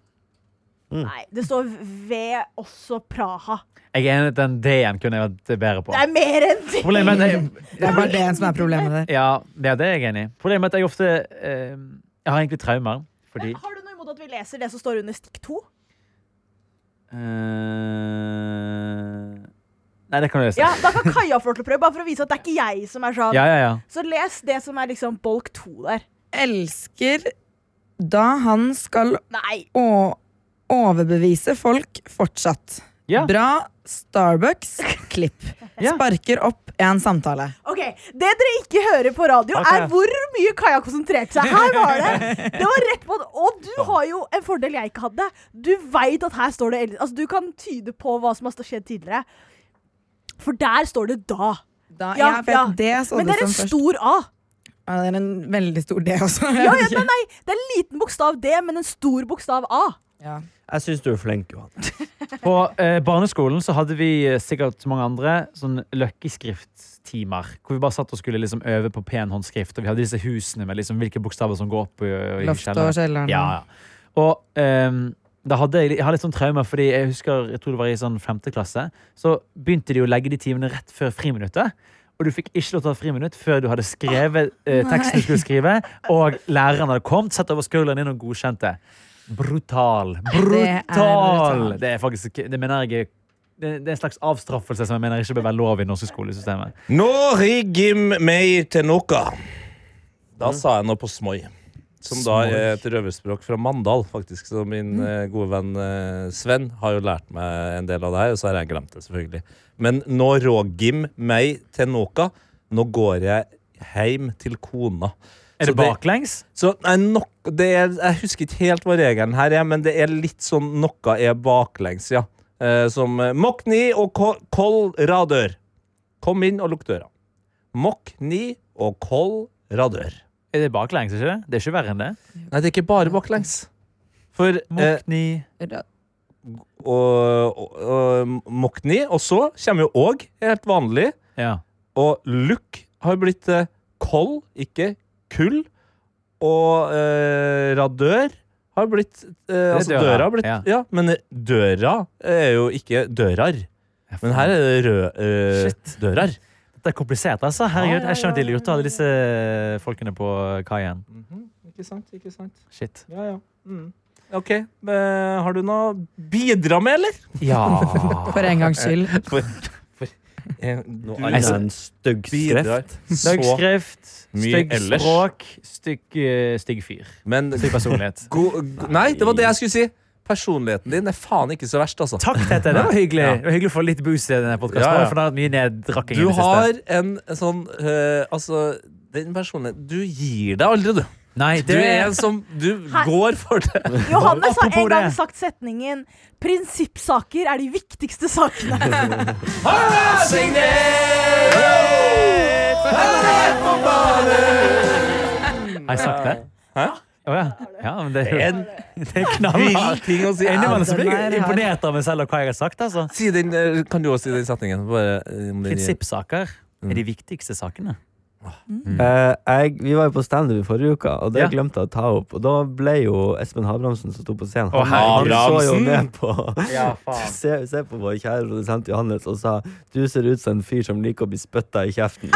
Nei, det står ved også Praha.
Jeg er enig i at den D-en kunne jeg vært bedre på.
Det er mer enn ting!
Problemet er at
Det er bare det som er problemet der.
jeg, ja, det er det jeg er enig i. Problemet er at jeg ofte eh, Jeg har egentlig traumer. Fordi
Har du noe imot at vi leser det som står under stikk to?
eh, Nei, det kan du lese.
Ja, Da kan Kaja få lov til å prøve, bare for å vise at det er ikke jeg som er sånn.
ja, ja. ja.
Så les det som er liksom bolk to der.
Elsker da han skal
Nei!
å overbevise folk fortsatt.
Ja.
Bra Starbucks klipp.
Ja.
Sparker opp en samtale.
Ok, Det dere ikke hører på radio,
Ok.
er hvor mye Kaja konsentrerte seg. Her var det! Det var rett på det. Og du har jo en fordel jeg ikke hadde. Du veit at her står det el- Altså, Du kan tyde på hva som har skjedd tidligere. For der står det 'da'.
Da, ja,
Ja,
for
ja.
Det så
Men
det
det er en
som først.
stor A.
Ja, det er en veldig stor D også.
Ja, ja, men nei, Det er en liten bokstav D, men en stor bokstav A.
Ja.
Jeg syns du er flink, Johan.
På eh, barneskolen så hadde vi eh, sikkert som mange andre sånn løkkeskriftstimer. Hvor vi bare satt og skulle liksom øve på pen håndskrift. Og vi hadde disse husene med liksom hvilke bokstaver som går opp. i- i
Loftet og
kjelleren.
kjelleren.
Ja, ja. Og ehm, da hadde jeg, jeg har litt sånn traumer, fordi jeg husker jeg tror det var i sånn femte klasse. Så begynte de å legge de timene rett før friminuttet. Og du fikk ikke lov til å ha friminutt før du hadde skrevet eh, teksten du skulle skrive, og læreren hadde kommet, satt over skulderen din og godkjent det. Brutal. Brutal!
brutal.
Det er faktisk ikke- Det mener jeg er- det det er en slags avstraffelse som jeg mener ikke bør være lov i det norske skolesystemet.
Nå riggim meg til noe.
Mm.
Da sa jeg noe på smoi. Som da er et røverspråk fra Mandal, faktisk. Så min
Mm.
eh, gode venn eh, Sven har jo lært meg en del av det her, og så har jeg glemt det, selvfølgelig. Men nå rågim meg til noe. Nå går jeg heim til kona.
Er
Så
det baklengs?
så nei, nok, det er, Jeg husker ikke helt hva regelen her er, men det er litt sånn noe er baklengs, ja. Eh, som eh, Mokk ni og ko- koll radør. Kom inn og lukk døra. Mokk ni og koll radør.
Er det baklengs, ikke det? Det er ikke verre enn det.
Nei, det er ikke bare baklengs. For eh,
Mokni.
og, og, og mokk ni, og så kommer jo òg helt vanlig.
Ja.
Og lukk har blitt eh, koll, ikke kull. Og eh, radør har blitt eh, Altså,
døra,
døra, har blitt
ja.
ja. men døra er jo ikke dørar. Men her er det rød eh,
Shit.
dørar.
Det er komplisert, altså.
Ja,
Herregud,
ja,
jeg skjønner at de
ja, ja,
lurte alle disse eh, folkene på kaien.
Mhm. Ikke sant, ikke sant.
Shit.
Ja, ja. Mm. OK. eh, har du noe å bidra med, eller?
Ja.
For en gangs skyld.
Eh, nå
Jeg er en stygg
bidrar
skreft.
så
Dagskrift,
mye
stygg
ellers.
språk, stygg, eh, stygg fyr.
Men
Stygg personlighet.
go- Nei, det var det jeg skulle si. Personligheten din er faen ikke så verst, altså.
Takk, Tete. Det var hyggelig
Ja.
Det var hyggelig å få litt boost i denne podkasten.
Ja, ja.
For det har vært mye neddrakking.
Du
i det siste.
har en sånn eh, Altså, den personligheten Du gir deg aldri, du.
Nei,
Du
det
er en som Du
Hei.
går for det.
Johannes har
Apropos
en gang
det.
sagt setningen 'Prinsippsaker er de viktigste sakene'.
Har jeg sagt det?
Hæ?
Å ja. ja. Men det er
En
det er knallhardt.
ting å si.
Innimellom så blir
den er
jeg
hard.
imponert av meg selv og hva jeg har sagt. altså
Si den, eh, kan du også si den setningen? Bare, eh, om den-
Prinsippsaker
Mm.
er de viktigste sakene.
Eh, jeg, vi var jo på standup i forrige uke, og det
Ja.
glemte jeg å ta opp. Og da ble jo Espen Abrahamsen som sto på scenen,
Å,
han, han så jo
Abrahamsen!
ned på
Ja,
Se, se på vår kjære produsent Johannes og sa du ser ut som en fyr som liker å bli spytta i kjeften.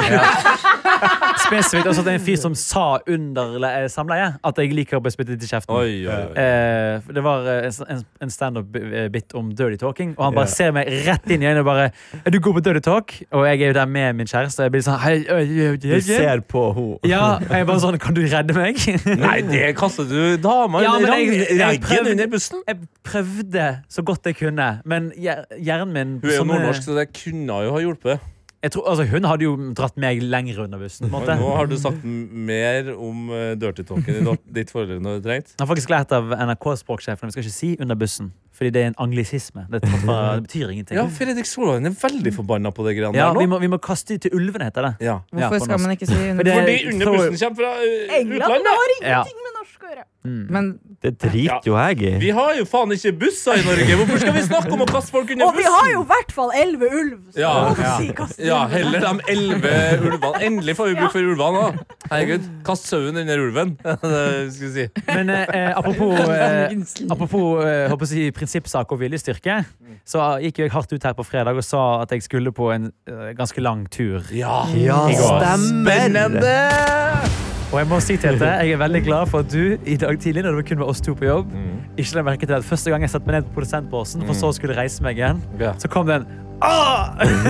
Spesifikt også at det er en fyr som sa under le- eh, samleie at jeg liker å bli spyttet i kjeften.
Oi, oi, oi.
Eh, for det var eh, en- en- en standup-bit om dirty talking, og han bare
Ja.
ser meg rett inn i øynene og bare Er du god på dirty talk? Og jeg er jo der med min kjæreste. og Jeg blir sånn hei, øy, øy, øy,
Du
øy.
ser på henne.
Ja, og jeg er bare sånn Kan du redde meg?
Nei, det kastet du dama
Ja, men
rang-
jeg- jeg
raggen
prøvde-
under bussen.
Jeg prøvde så godt jeg kunne, men hjer- hjernen min
Hun er jo
sånne-
nordnorsk, så det kunne jo ha hjulpet.
jeg tror, altså, Hun hadde jo dratt meg lenger under bussen. på en
Og
måte.
nå har du sagt m- mer om eh, dirty talken i dot- ditt forhold enn du hadde trengt.
Jeg har faktisk lært av NRK-språksjefen Vi skal ikke si under bussen, fordi det er en anglisisme. Det, er tatt fra- det betyr ingenting.
Ja, Fredrik Solvang er veldig forbanna på det greiene
Ja,
der
vi,
nå.
må, vi må kaste de til ulvene, heter det.
Ja.
Ja, på
Hvorfor skal
norsk.
man ikke si
For det-
under?
Fordi under
throw-
bussen kommer fra eh,
England
utlandet.
har
Ja.
ingenting med norsk å gjøre.
Men
Det driter jo jeg i.
Vi har jo faen ikke busser i Norge! Hvorfor skal vi snakke om å kaste folk under
Og vi
bussen?
har jo i hvert fall elleve ulv. Så
Ja,
hvorfor
ja.
si kasten?
Ja, heller de elleve ulvene. Endelig får vi bruk for ulvene. da Herregud, Kast sauen under ulven. Det skal vi si.
Men eh, eh, apropos, eh, apropos eh, håper jeg å si, prinsippsak og viljestyrke, så gikk jo jeg hardt ut her på fredag og sa at jeg skulle på en eh, ganske lang tur.
Ja,
Ja,
I går.
eh,
stemmer!
Og jeg må si til dette, jeg er veldig glad for at du i dag tidlig, når det kun var oss to på jobb,
Mm.
ikke la merke til at første gang jeg satte meg ned på produsentbåsen, for så å skulle reise meg igjen,
Ja.
så kom det en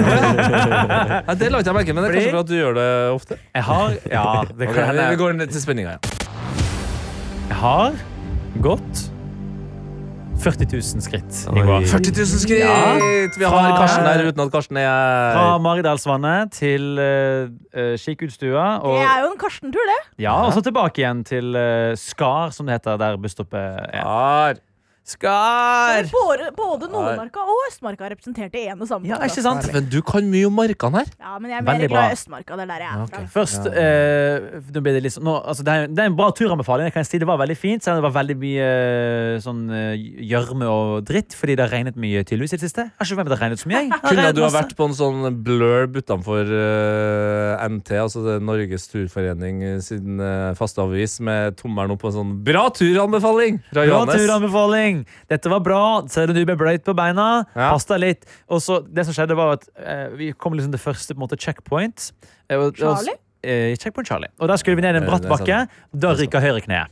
Nei, Det la ikke jeg merke, men det er kanskje
Fordi-
for at du gjør det ofte.
Jeg har Ja, det
Ok,
kan hende.
vi går ned til spenninga, ja.
Jeg har gått 40 000 skritt i går.
40 000 skritt!
Ja.
Vi har Karsten her uten at Karsten er
Fra Maridalsvannet til eh, eh, Skikutstua. Og,
Det er jo en Karsten-tur, det.
ja, og så tilbake igjen til eh, Skar, som det heter der busstoppet er.
Har.
Skar!
Både, både Nordmarka og Østmarka er representert i en og samme
Ja,
plass.
ikke sant?
Men du kan mye om markene her.
Ja, men jeg er mer
Veldig bra.
glad i Østmarka. Det er der jeg er fra.
Først eh, nå blir det, litt sånn- nå, altså, det, er, det er en bra turanbefaling. det kan jeg si. Det var veldig fint, selv om det var veldig mye eh, sånn eh, gjørme og dritt. Fordi det har regnet mye tydeligvis i det siste. Jeg har ikke fått med meg at det har regnet så mye. jeg. Det har
Kunne
regnet
du ha
masse.
vært på en sånn blurb utenfor eh, NT, altså det er Norges Turforening eh, sin eh, faste avis, med tommelen opp på en sånn bra turanbefaling fra
Bra
Johannes?
turanbefaling! Dette var bra. Ser du du ble bløyt på beina?
Ja.
Pass deg litt. Og så, det som skjedde, var at eh, vi kom liksom til første på en måte, checkpoint. Eh, og-
Charlie?
Eh, checkpoint Charlie. Og da skulle vi ned en
Eh,
bratt
det er sant.
bakke. Da ryker høyrekneet.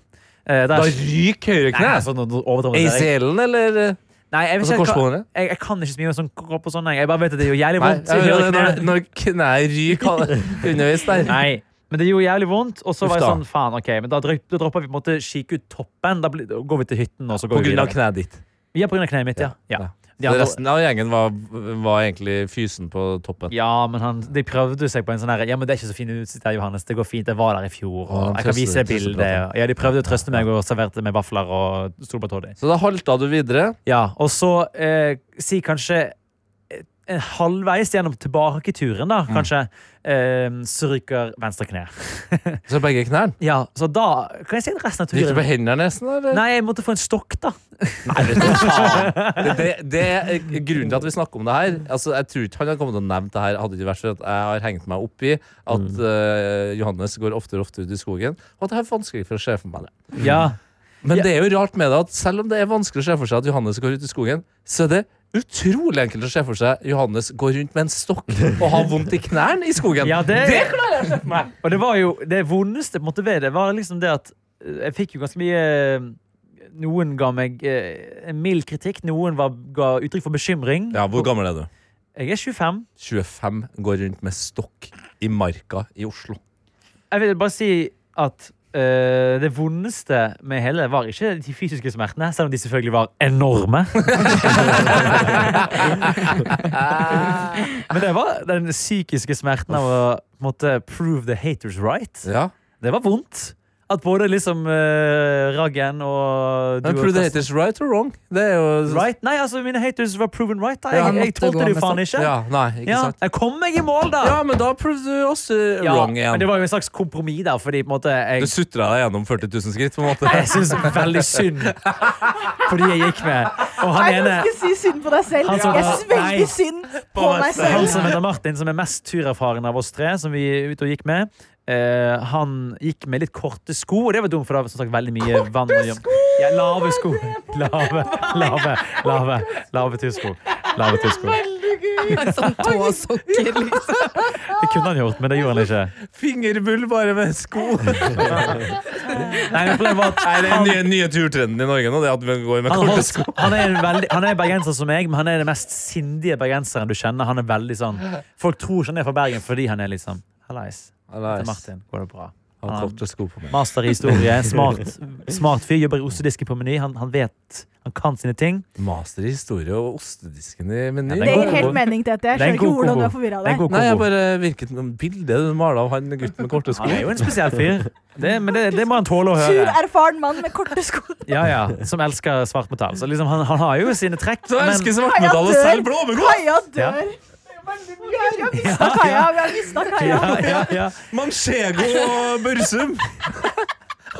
Eh, der-
Da ryker høyre
Nei,
kne!
altså, nå- nå overdramatiserer jeg.
ACL-en, eller? eh,
Nei, jeg, vet
Altså
ikke hva-
korsbåndet?
jeg, jeg kan ikke så mye om sånn kropp og sånn. Jeg bare vet at det gjør jævlig
Nei,
vondt. i
jeg hører det når,
høyrekneet.
når kneet ryker underveis der.
Nei. Men det gjorde jævlig vondt, og så var
Uff
jeg
da.
sånn, faen, ok, men da, drøy- da dropper vi på en måte kike ut toppen. Da, blir, da går vi til hytten, og så går
På
vi
grunn av
videre.
kneet ditt.
Ja, på grunn av kneet mitt, ja. ja.
Ja.
De andre-
resten av gjengen var, var egentlig fysen på toppen.
Ja, men han, de prøvde seg på en sånn her Ja, men det er ikke så fin utsikt her, Johannes. Det går fint. Jeg var der i fjor.
Ja, de
Og jeg kan vise
trøster-
deg bildet.
trøsteprater.
og- Ja, de prøvde å trøste meg og serverte meg vafler og stolpatoddy.
Så da halta du videre.
Ja, og så eh, si kanskje eh, en halvveis gjennom tilbaketuren, da, kanskje, eh, så ryker venstre kne.
Så begge knærne.
Ja, så da kan jeg si at resten av
Gikk du på
turen
hendene nesten? Eller?
Nei, jeg måtte få en stokk, da.
Det, det, det er grunnen til at vi snakker om det her. Altså, jeg tror ikke han hadde kommet til å nevne det her hadde det ikke vært for at jeg har hengt meg opp i at
Mm.
eh, Johannes går oftere og oftere ut i skogen, og at det er vanskelig for å se for meg det.
Ja.
Men
Ja.
det er jo rart med det at selv om det er vanskelig å se for seg at Johannes går ut i skogen, så er det utrolig enkelt å se for seg Johannes går rundt med en stokk og har vondt i knærne i skogen.
ja det,
Det
klarer jeg å se for meg! Og det var jo det vondeste på en måte ved det, var liksom det at eh, jeg fikk jo ganske mye eh, Noen ga meg eh, en mild kritikk, noen var, ga uttrykk for bekymring.
Ja, hvor gammel er du?
Jeg er 25.
25 går rundt med stokk i marka i Oslo.
Jeg vil bare si at eh, det vondeste med hele var ikke de fysiske smertene, selv om de selvfølgelig var enorme. Men det var den psykiske smerten av å på en måte, prove the haters right.
Ja.
Det var vondt. At både liksom eh, Raggen og
Men
og
prove the
Karsten-
haters right or wrong? Det er jo
Right? Nei, altså mine haters var proven right. da
Ja,
Jeg, jeg
måtte gå
tålte det
med
jo faen ikke.
Ja, nei, ikke
Ja,
sant?
Jeg kom meg i mål, da!
Ja, men da proved du også
Ja,
wrong
men
igjen.
det var jo en slags kompromiss der, fordi på en
Du
måte jeg,
sutra deg gjennom 40 000 skritt, på en måte.
jeg syns veldig synd på de jeg gikk med. Og han
Jeg
ene
kan ikke si synd på deg selv.
Han som-
Jeg synes
Nei.
veldig synd på meg
Han
selv.
som heter Martin, som er mest turerfaren av oss tre, som vi er ute og gikk med, eh, han gikk med litt korte sko, og det var dumt, for det var som sagt veldig mye vann og gjørme. Ja, lave sko! Lave, lave, lave, lave tursko. Lave tursko.
Sånn tåsokker, liksom.
Det kunne han gjort, men det gjorde han ikke.
Fingerbull bare med sko.
Nei, men problemet var at
Nei, det er den
han-
nye, nye turtrenden i Norge nå. Det er at vi går med
Han,
korte
holdt,
sko.
han, er en veldig, han er bergenser som meg, men han er den mest sindige bergenseren du kjenner. Han er veldig sånn Folk tror ikke han er fra Bergen fordi han er litt sånn Hallais. Til Martin går det bra.
Han
har
korte sko på meg.
Master i historie. Smart, smart fyr. Jobber i ostedisken på Meny. Han, han vet Han kan sine ting.
Master i historie og ostedisken i Meny.
Ja,
Det
er
gir helt mening til dette. Jeg
Det er en
skjønner ikke
god
hvordan du er
kombo.
forvirra av
Det er
det.
en god
Nei, jeg
kombo.
bare virket noe bilde du maler av han gutten med korte sko.
Han er jo en spesiell fyr. Det, men det, det må han tåle å
Sur,
høre.
erfaren mann med korte sko.
Ja, ja, Som elsker svartmetall. Så liksom, han, han har jo sine trekk.
Du elsker
Men,
svartmetallet
Kaja dør.
selv, blåmegå!
Kaja
Ja.
dør. Vi har vi har mista Kaja. Vi har mista Kaja.
ja, ja, ja.
Manchego og Børsum.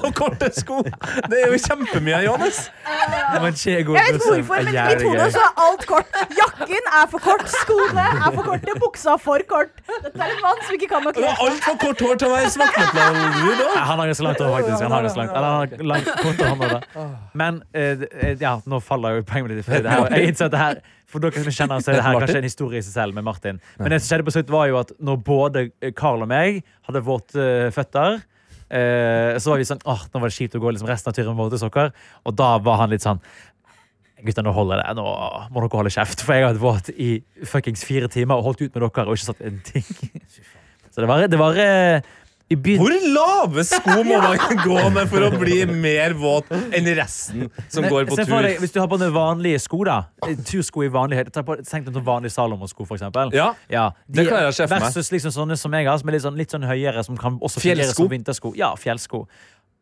Og korte sko. Det er jo kjempemye, Johannes.
Jeg vet
Jeg vet ikke hvorfor, men i mitt
tipo,
hode så er alt kort. Jakken er for kort, skoene er for korte, buksa er for kort. Dette er en mann som ikke kan nok
Det var altfor kort hår til å være svartmetallgud òg.
Nei, han har ganske langt hår, faktisk. Han har ganske langt, eller, han har langt kort hår, han har det. Men eh, eh, ja, nå faller jo poenget mitt litt. fordi Det her, jeg innser at det her, for dere som kjenner, så er det her kanskje en historie i seg selv med Martin. Men det som skjedde på slutt, var jo at når både eh, Carl og meg hadde våte eh, føtter eh, så var vi sånn åh, nå var det kjipt å gå liksom resten av turen med våte sokker. Og da var han litt sånn Gutter, nå holder det. Nå må dere holde kjeft. For jeg har vært våt i fuckings fire timer og holdt ut med dere og ikke sagt en ting. Så det var, det var eh, i
Hvor
begynnelsen
lave sko må man gå med for å bli mer våt enn resten som går på
Se for
tur?
deg, hvis du har på deg vanlige sko, da. Eh, Tursko i vanlig høyde. Ta på- Tenk deg noen vanlige Salomon-sko, for eksempel.
Ja,
Ja,
Det klarer jeg å se for meg.
Versus liksom sånne som jeg har, som er litt sånn, litt sånn høyere, som kan også fungere
Fjellsko.
som vintersko. Ja, fjellsko.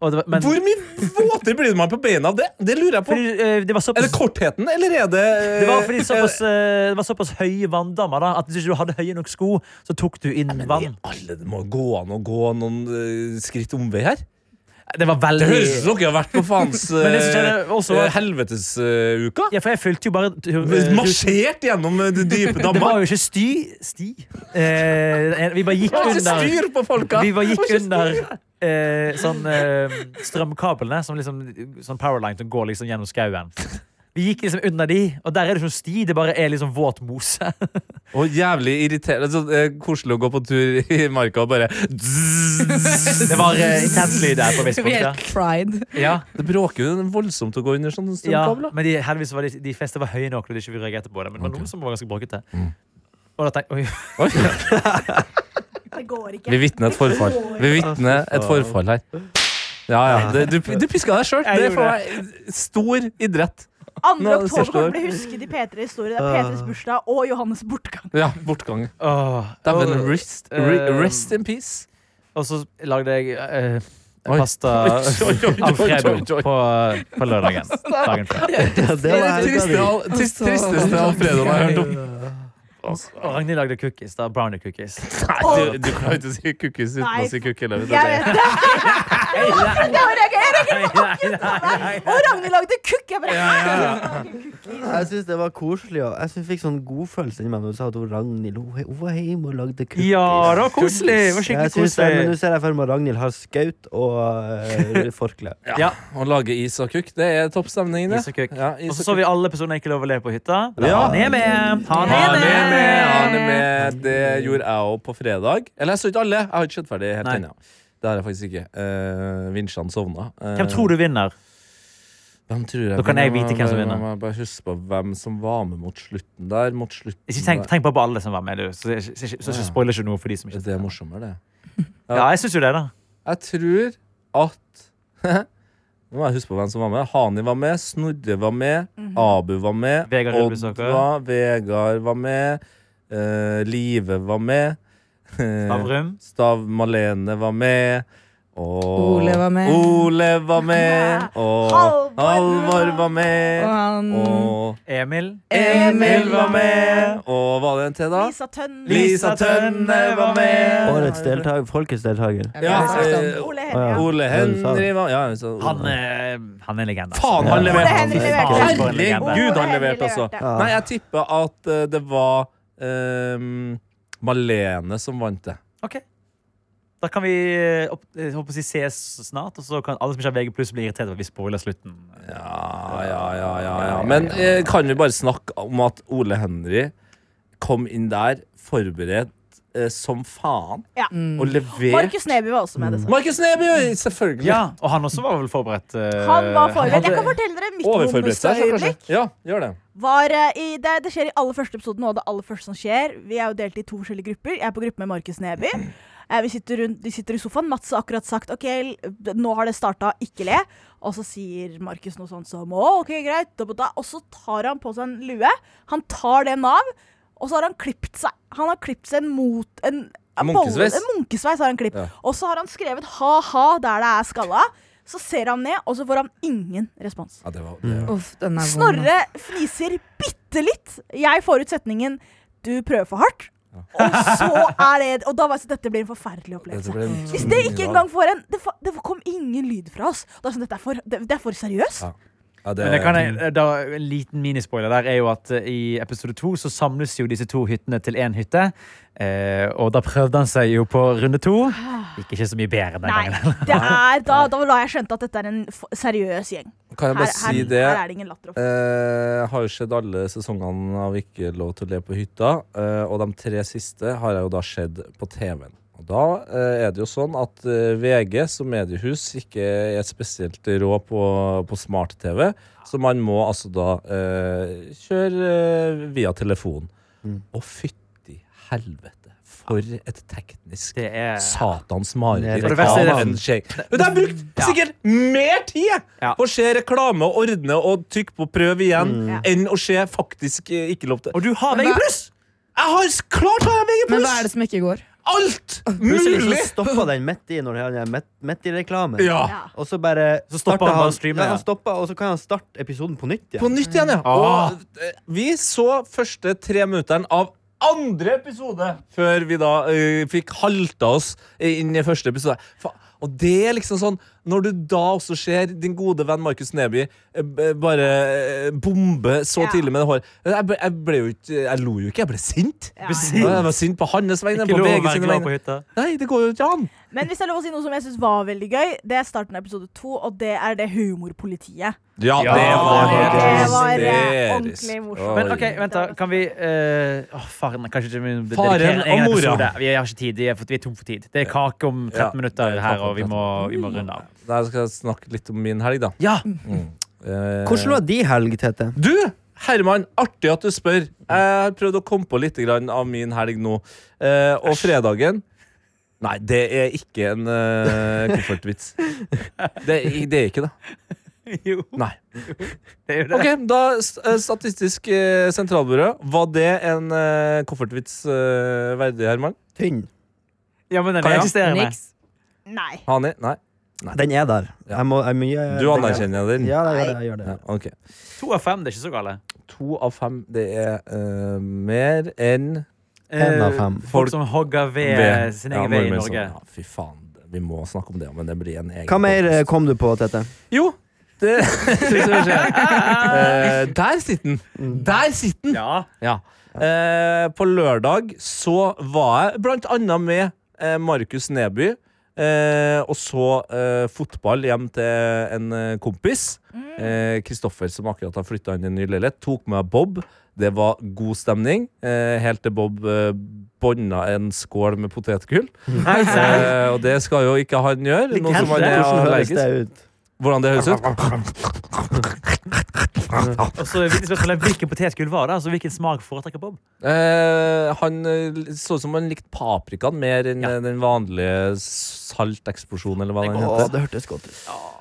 Og det, var- men,
Hvor mye våtere blir man på beina? Det, det lurer jeg på.
fordi, eh, det var såpass
Er det kortheten, eller er det eh,
det var fordi såpass, eh, det var såpass høye vanndammer da, at hvis ikke du hadde høye nok sko, så tok du inn vann.
Alle det må gå an å gå noen eh, skritt omvei her.
Det var
Det høres ut
veldig
som dere har vært på faens
Men det som
eh,
skjedde også var-
helvetesuka.
Ja, for jeg fulgte jo bare tur-
Marsjert gjennom eh, de dype
Det var
dammer.
jo ikke sti Sti? Eh, vi bare
Det
gikk
var ikke
under
styr på folka.
Vi var
Det
gikk
ikke
under
styr.
eh, sånn, eh, strømkablene, som liksom, sånn powerline som går liksom gjennom skauen. Vi gikk liksom under de, og der er det ikke noen sti, det bare er liksom våt mose.
Og jævlig irriterende. Så, eh, koselig å gå på tur i marka og bare
Det var eh, intens lyd der på
Vi
visst punkt.
er
Ja.
helt cried.
Ja,
Det bråker jo voldsomt å gå under sånn sånne
ja,
strømkabler.
men de, heldigvis var de, de fleste var høye nok, og de ikke vi reagerte på det. Men det var noen som var ganske bråkete.
Mm.
Og da tenkte jeg, oi,
Det går ikke.
Vi vitner et forfall. Vi vitner et forfall her. Ja, ja. Det, du, du piska deg sjøl.
Jeg
Det er for
gjorde
meg stor idrett.
2.
Nå, det
oktober
siste
kommer det bli husket i P3 historie. Det er P3s bursdag og Johannes bortgang.
Ja, bortgang.
åh.
Dæven,
Og-
rest, re-
eh,
rest in peace.
Og så lagde jeg eh,
Oi.
pasta
Oi, oi, oi,
alfredo
oi, oi.
på, eh, på lørdagen. Dagen før.
Ja, det
Det er
var
det
helga
triste,
mi.
al- trist, tristeste Alfredo jeg har hørt om.
Og Ragnhild lagde cookies. da, Brownie cookies.
Nei, du, du klarer ikke å si cookies uten
Nei,
å si cookie. Eller,
Jeg vet det! Det var jeg reagerer ikke på! Og Ragnhild lagde kukk! Jeg bare
Jeg syns det var koselig. Og jeg synes jeg fikk sånn godfølelse inni meg når du sa at hun Ragnhild hun, hun var hjemme og lagde cookies.
Ja, det var koselig! Det var
Jeg
skikkelig
synes det, men
koselig.
Nå ser jeg for meg at Ragnhild har skaut og eh, forkle.
Å lage is og kukk, det er topp stemning, det.
Is og kukk.
Ja,
Og
is
så
og
så
kukk.
vi alle personer ikke lov å le på hytta.
Ja.
Han er med!
Han
Han er
er med, han
med!
er med. Det gjorde jeg òg på fredag. Eller jeg så ikke alle. Jeg har ikke sett ferdig helt
Nei.
ennå. Det har jeg faktisk ikke. Uh, Vinsjene sovna. Eh,
Hvem tror du vinner?
hvem tror jeg
Da kan jeg
vinner?
vite hvem som
Jeg må-
vinner.
jeg må Bare husk på hvem som var med mot slutten der. Mot slutten
Ikke tenk,
der.
tenk bare på alle som var med, du. Så, så, så, så, så spoiler ikke noe for de som ikke
Det er morsommere, det.
Ja, jeg syns jo det, da.
Jeg tror at Nå må jeg huske på hvem som var med. Hani var med, Snorre var med, Abu var med,
Mhm. Vegard
Odd
Ulvesaker.
var Vegard var med, eh, Live var med, eh,
Stavrum.
Stav Malene var med, og
Ole var med.
Ole var med, og
Halvor.
Halvor var
Og
med,
han
og
Emil.
Emil var med, og var det en til, da?
Lisa Tønn.
Lisa Tønne var med.
Årets deltaker. Folkets deltaker.
Ja, eh,
Ole Henry.
Ole Henry var ja, så-
Han, eh, han er en legende.
Faen, han
Ja.
leverte!
Henry leverte.
Faen, for en legende.
Herregud, han
Henry
leverte, altså.
leverte.
Ja.
Nei, jeg tippa at eh, det var ehm, Malene som vant det.
Ok. Da kan vi eh, opp, eh, håper jeg, å si, ses snart, og så kan alle som ikke har VG+, bli irritert over at vi spoiler slutten.
Ja, ja, ja, ja, ja. Men eh, kan vi bare snakke om at Ole Henry kom inn der forberedt eh, som faen.
Ja.
Og levert
Markus Mm. Neby var også med. dessverre.
Markus Neby! Selvfølgelig.
Ja, og han også var vel forberedt. eh,
Han var forberedt. Jeg
hadde-
kan fortelle dere mitt
Mm. Overforberedt seg, så
bomullsøyeblikk.
kanskje. Ja, gjør det.
var, eh, i, det, det skjer i aller første episoden, og det aller første som skjer. Vi er jo delt i to forskjellige grupper. Jeg er på gruppe med Markus Neby. Eh, Vi sitter rundt, de sitter i sofaen. Mats har akkurat sagt OK, l- nå har det starta, ikke le. Og så sier Markus noe sånt som Å, OK, greit. da, da. Og så tar han på seg en lue. Han tar den av, og så har han klippet seg Han har klippet seg mot en
En
bolle-
munkesveis.
En munkesveis har han klippet.
Ja.
Og så har han skrevet ha-ha der det er skalla. Så ser han ned, og så får han ingen respons.
Ja, det var, det var.
Uff, den er vond, ass.
Snorre fniser bitte litt. Jeg får ut setningen 'du prøver for hardt'. Og så er det Og da var jeg sånn Dette blir en forferdelig
Dette
opplevelse.
ble en
Hvis det
tungrodd-
ikke engang får en Det, fa- det kom ingen lyd fra oss. Da er jeg sånn, dette er for, det, det er for seriøst.
Ja. Ja, det,
Men det kan jeg, da, En liten minispoiler der er jo at eh, i episode to så samles jo disse to hyttene til én hytte. Eh, og da prøvde han seg jo på runde to. Gikk ikke så mye bedre den
Nei.
gangen.
Det er, da, da la jeg skjønte at dette er en f seriøs gjeng.
kan jeg
Her,
bare
her,
si det.
her er det ingen latter. og-
Eh, har jo sett alle sesongene av Ikke lov til å le på hytta, eh, og de tre siste har jeg jo da sett på TV-en. Og Da eh, er det jo sånn at eh, VG som mediehus ikke er spesielt rå på, på smart-TV, så man må altså da eh, kjøre eh, via telefon.
Mm.
Og fytti helvete, for et teknisk
Det er
Satans
Det
mareritt.
er
av
det verste er det-
en skjegg. Men De har brukt sikkert mer tid
Ja.
på å se reklame og ordne og trykke på prøv igjen
Ja.
enn å se faktisk eh, ikke lov til
Og du har
Men
VG+.
hva-
Jeg har s- klart har jeg
Men hva er
VG+!
det som ikke går?
Alt
Plutselig så
mulig!
stoppa den midt i når han er midt, midt i reklamen.
Ja.
Ja.
Og så bare
Så stopper
starter
han bare å streame,
ja,
ja.
han stopper, og så kan han starte episoden på nytt
På
igjen.
nytt igjen, ja.
Ah.
Og eh, vi så første tre minutteren av andre episode før vi da eh, fikk halta oss inn i første episode. Fa og det er liksom sånn Når du da også ser din gode venn Markus Neby eh, b- bare eh, bombe så
Ja.
tidlig med det håret jeg, ble- jeg ble jo ikke Jeg lo jo ikke, jeg ble sint.
Ja, ja.
Precis.
Jeg var sint på hans vegne, på
Ikke lov å
VG
være
sine
glad på
vegne.
hytta.
Nei, det går jo ikke an.
Men hvis det er lov å si noe som jeg syns var veldig gøy, det er starten av episode to, og det er det humorpolitiet.
Ja,
det var
det var,
hysterisk.
eh, ordentlig morsomt.
Men
Oi.
ok, vent da, kan vi uh, Faren, kanskje ikke vi
Faren
dedikerer en egen
og mora.
episode. Vi har ikke tid, vi er, for, vi er tom for tid Det er kake om 13
Ja,
minutter
det er kake
her,
om
og vi må, vi må runde av
Da skal jeg snakke litt om min helg, da.
Ja,
Eh,
Hvordan var de helg, Tete?
Du, Herman, artig at du spør. Jeg har prøvd å komme på litt grann av min helg nå. Eh, og fredagen Nei, det er ikke en eh, koffertvits. Det, er- det er ikke det.
jo,
Nei.
det er jo det
Ok, Da s- eh, Statistisk eh, sentralbyrå, var det en eh, koffertvits eh, verdig, Herman?
Tynn.
Ja, men den
Kaja?
er eksisterende
Niks.
Nei.
Hani? Nei.
Den er der. Jeg må, jeg, må- jeg,
Du anerkjenner den?
Eh, Ja, jeg gjør det. Jeg gjør det.
Ja, ok.
To av fem, det er ikke så gale
To av fem. Det er eh, mer enn
En av fem.
Eh, Folk, som hogger ved,
ved-
sin
Ja,
egen vei i
nordmenn som-
Norge
Ja, fy faen. Vi må snakke om det, men det blir en egen
Hva mer eh,
podcast.
kom du på, Tete?
Jo, det synes jeg skjer. Eh, der sitter
Mm.
den! Der sitter den!
Ja,
Ja. Eh, på lørdag så var jeg blant annet med eh, Markus Neby. Eh, og så eh, fotball hjem til en eh, kompis. Eh, Kristoffer, som akkurat har flytta inn i en ny leilighet, tok med Bob. Det var god stemning, eh, helt til Bob eh, bånda en skål med potetgull. Eh, og det skal jo ikke han gjøre, nå som han er
Hvordan høres
allergisk.
det ut?
Hvordan det høres ut?
og så er det viktig spørsmål Hvilken potetgull var det? Altså, hvilken smak foretrekker Bob?
Eh, han eh, så ut som han likte paprikaen mer enn
Ja.
eh, den vanlige salteksplosjonen, eller hva den
Å,
heter.
det hørtes godt ut.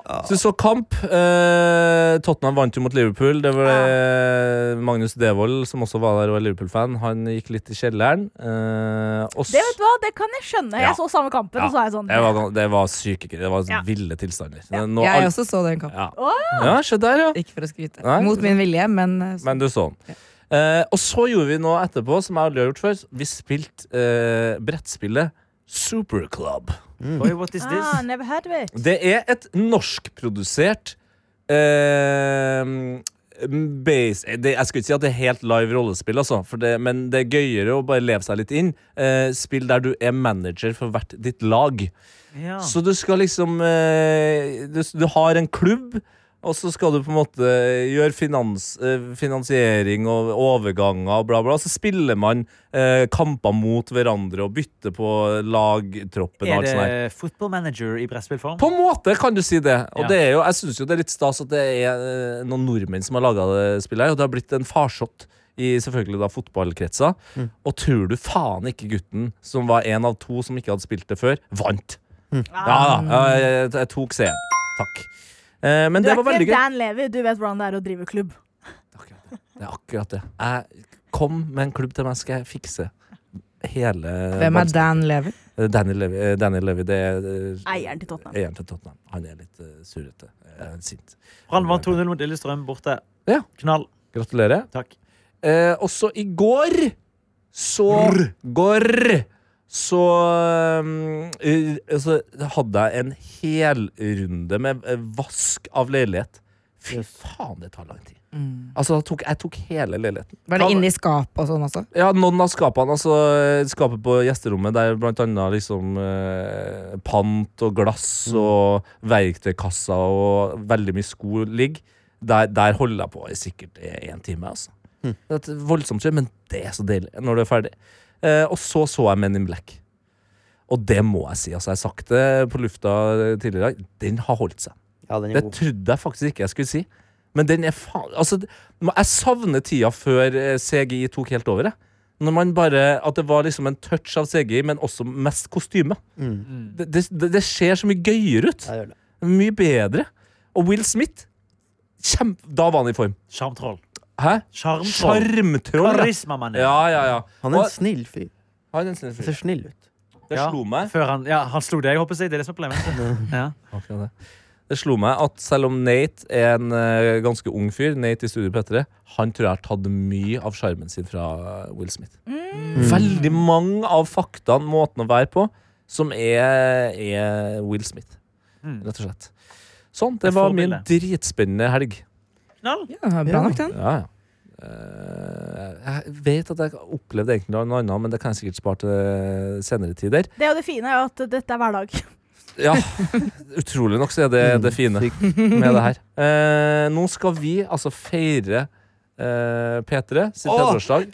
Så vi så kamp. Eh, Tottenham vant jo mot Liverpool. Det var eh, Magnus Devold, som også var der og var Liverpool-fan, han gikk litt i kjelleren. Eh, og s-
Det vet du hva, det kan jeg skjønne.
Ja.
Jeg så samme kampen,
Ja.
og så er jeg sånn
det var, gan- det var syke Det var
Ja.
ville tilstander. Nå,
Jeg
all-
også så den kampen.
ja. ja, se der, ja.
Ikke for å skryte.
Nei.
Mot min vilje, men eh,
Men du så den. Eh, og så gjorde vi noe etterpå som jeg aldri har gjort før. Vi spilte eh, brettspillet Superclub.
Oi, what is this?
ah, Never heard of it.
Det er et norskprodusert eh, base, det, Jeg skulle ikke si at det er helt live rollespill, altså, for det, men det er gøyere å bare leve seg litt inn. Eh, spill der du er manager for hvert ditt lag.
Ja.
Så du skal liksom eh, du, du har en klubb, Og så skal du på en måte gjøre finans, eh, finansiering og overganger og bla, bla. Så spiller man eh, kamper mot hverandre og bytter på lagtroppen og
Er
alt sånt. her.
det football manager i brettspillform?
På en måte kan du si det. Og
Ja.
det er jo, jeg syns jo det er litt stas at det er eh, noen nordmenn som har laga det spillet her, og det har blitt en farsott i selvfølgelig da fotballkretser.
Mm.
Og tror du faen ikke gutten som var en av to som ikke hadde spilt det før, vant? Ja,
Ah.
ja, jeg, jeg, jeg tok seieren. Takk. Eh, men
Du
det
er
var veldig
ikke
gøy.
Dan Levy, du vet hvordan det er å drive klubb.
Det er akkurat det. Jeg kom med en klubb til meg, skal jeg fikse hele
Hvem er Dan Lever?
Danny Levy, eh, Danny Levy, det er eh,
Eieren til Tottenham.
eieren til Tottenham. Han er litt eh, surrete. Eh, sint.
Brann vant 2-0 mot Lillestrøm borte.
Ja.
Knall.
Gratulerer.
Takk.
Eh, også i går så Går så um, eh, altså, hadde jeg en helrunde med eh, vask av leilighet. Fy
Yes.
faen, det tar lang tid.
Mm.
Altså, jeg tok, jeg tok hele leiligheten.
Var det inni skap og sånn også?
Ja, noen av skapene. Altså, eh, skapet på gjesterommet der blant annet liksom eh, pant og glass og verktøykasser og veldig mye sko ligger. Der, der holder jeg på i sikkert én time, altså. Det er et voldsomt kjør, men det er så deilig når du er ferdig. Eh, og så så jeg Men in Black. Og det må jeg si, altså. Jeg har sagt det på lufta tidligere i dag. Den har holdt seg.
Ja, den er
Det
god.
trodde jeg faktisk ikke jeg skulle si. Men den er faen Altså, det- jeg savner tida før eh, CGI tok helt over, jeg. Når man bare At det var liksom en touch av CGI, men også mest kostyme. Det, det, det- det ser så mye gøyere ut.
Ja, gjør det.
Mye bedre. Og Will Smith kjempe, Da var han i form.
Sjarmtroll.
Hæ?
Sjarmtroll.
Sjarmtroll! ja.
Karismamannen.
Ja, ja, ja.
Han er
Og-
en snill fyr.
han er en snill fyr.
Han ser snill ut.
Det
Ja.
slo meg
Før han, ja, han slo deg, håper jeg. Det er det som er
Mm.
problemet. Ja.
Akkurat det. Det slo meg at selv om Nate er en eh, ganske ung fyr, Nate i Studio P3, han tror jeg har tatt mye av sjarmen sin fra eh, Will Smith. Veldig mange av faktaene, måten å være på, som er, er Will Smith.
Mm.
Rett og slett. Sånn.
Et
Det var min
forbilde.
dritspennende helg.
Knall.
Ja, bra nok den.
Ja, ja. Eh, jeg vet at jeg opplevde egentlig noe annet, men det kan jeg sikkert spare til senere tider.
Det er jo det fine, er jo at dette er hverdag.
Ja, utrolig nok så er det
Mm.
det fine med det her. Eh, nå skal vi altså feire eh, P3 sitt
Åh,
30-årsdag.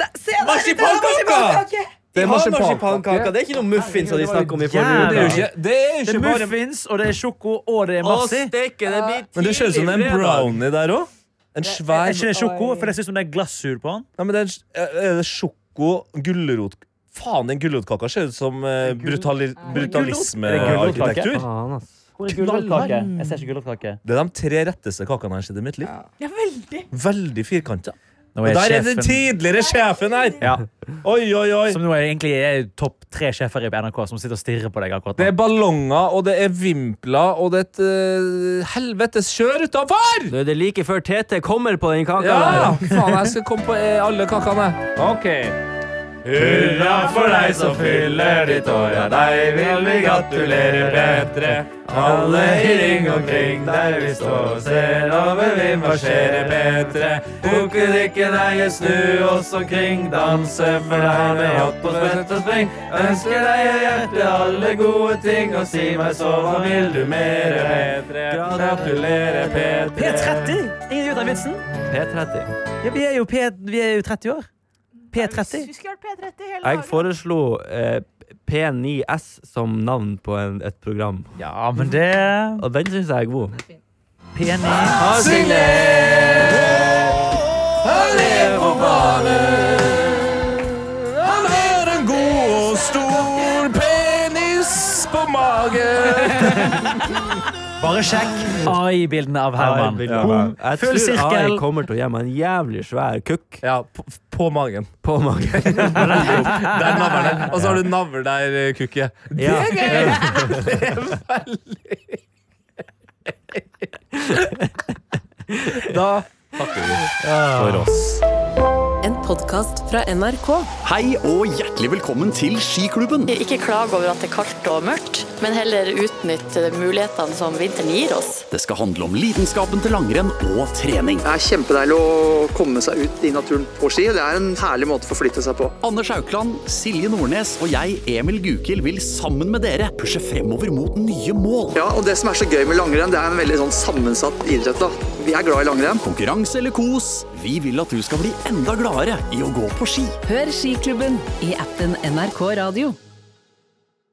Marsipankaka!
Det er marsipankake.
marsipankake! Det er ikke noe muffins som de snakker om i
Jævla.
Det er jo ikke, det er jo
Det er
forrige uke.
ikke bare
muffins, og det er sjoko, og det er massi.
steike, det blir
Men det ser ut som det er en brownie der òg. En
Er
svær
ikke det sjoko? For det ser ut som det er glassur på den.
Nei, men det er en, s- eh, er det sjoko, gulrot Faen, den gulrotkaka ser ut som eh, brutali
gulrotkake?
brutalismearkitektur.
Faen, ass.
Hvor
er gulrotkake?
Jeg ser ikke gulrotkake.
Det er de tre retteste kakene jeg har sett i mitt liv.
Ja, veldig.
Veldig firkanta.
Nå
Og der er den tidligere sjefen her!
Ja,
Oi, oi, oi!
som nå er egentlig er topp tre sjefer i NRK som sitter og stirrer på deg akkurat
Det
nå.
er ballonger, og det er vimpler, og det er et eh, helvetes kjør utafor!
Nå er det like før Tete kommer på den kaka
Ja!
der.
Faen, jeg skal komme på eh, alle kakene. OK. Hurra for deg som fyller ditt år, ja, deg vil vi gratulere bedre. Alle i ring omkring der vi står og ser, og vi vil marsjere bedre. Bukke drikke deg, snu oss omkring, danse for deg med hopp og spett og spring. Ønsker deg av hjertet alle gode ting, og si meg så, hva vil du mere bedre? Gratulere, P3.
P30! Ingen ut av vitsen.
P30.
Ja, vi, er jo P, vi er jo 30 år. P30.
Vi skulle vært P30 hele
Jeg
dagen.
foreslo eh, P9S som navn på en, et program,
Ja, men det
og den syns jeg er god.
P9.
Han lever på banen. Han har en god og stor penis på magen.
Bare sjekk AI-bildene av Herman.
Jeg
Boom. Full
tror
sirkel.
jeg kommer til å gi meg en jævlig svær kukk
Ja, på, på magen.
på magen.
Der navler den. Og så har du navl der, eh, kukke.
Ja.
Da takker vi for oss.
En podkast fra NRK.
Hei og hjertelig velkommen til Skiklubben.
Ikke klag over at det er kaldt og mørkt, men heller utnytte mulighetene som vinteren gir oss.
Det skal handle om lidenskapen til langrenn og trening.
Det er kjempedeilig å komme seg ut i naturen på ski. Det er en herlig måte å forflytte seg på.
Anders Haukland, Silje Nordnes og jeg, Emil Gukild, vil sammen med dere pushe fremover mot nye mål.
Ja, og Det som er så gøy med langrenn, det er en veldig sånn sammensatt idrett. da. Vi er glad i langrenn.
Konkurranse eller kos, vi vil at du skal bli enda gladere i å gå på ski.
Hør Skiklubben i appen NRK Radio.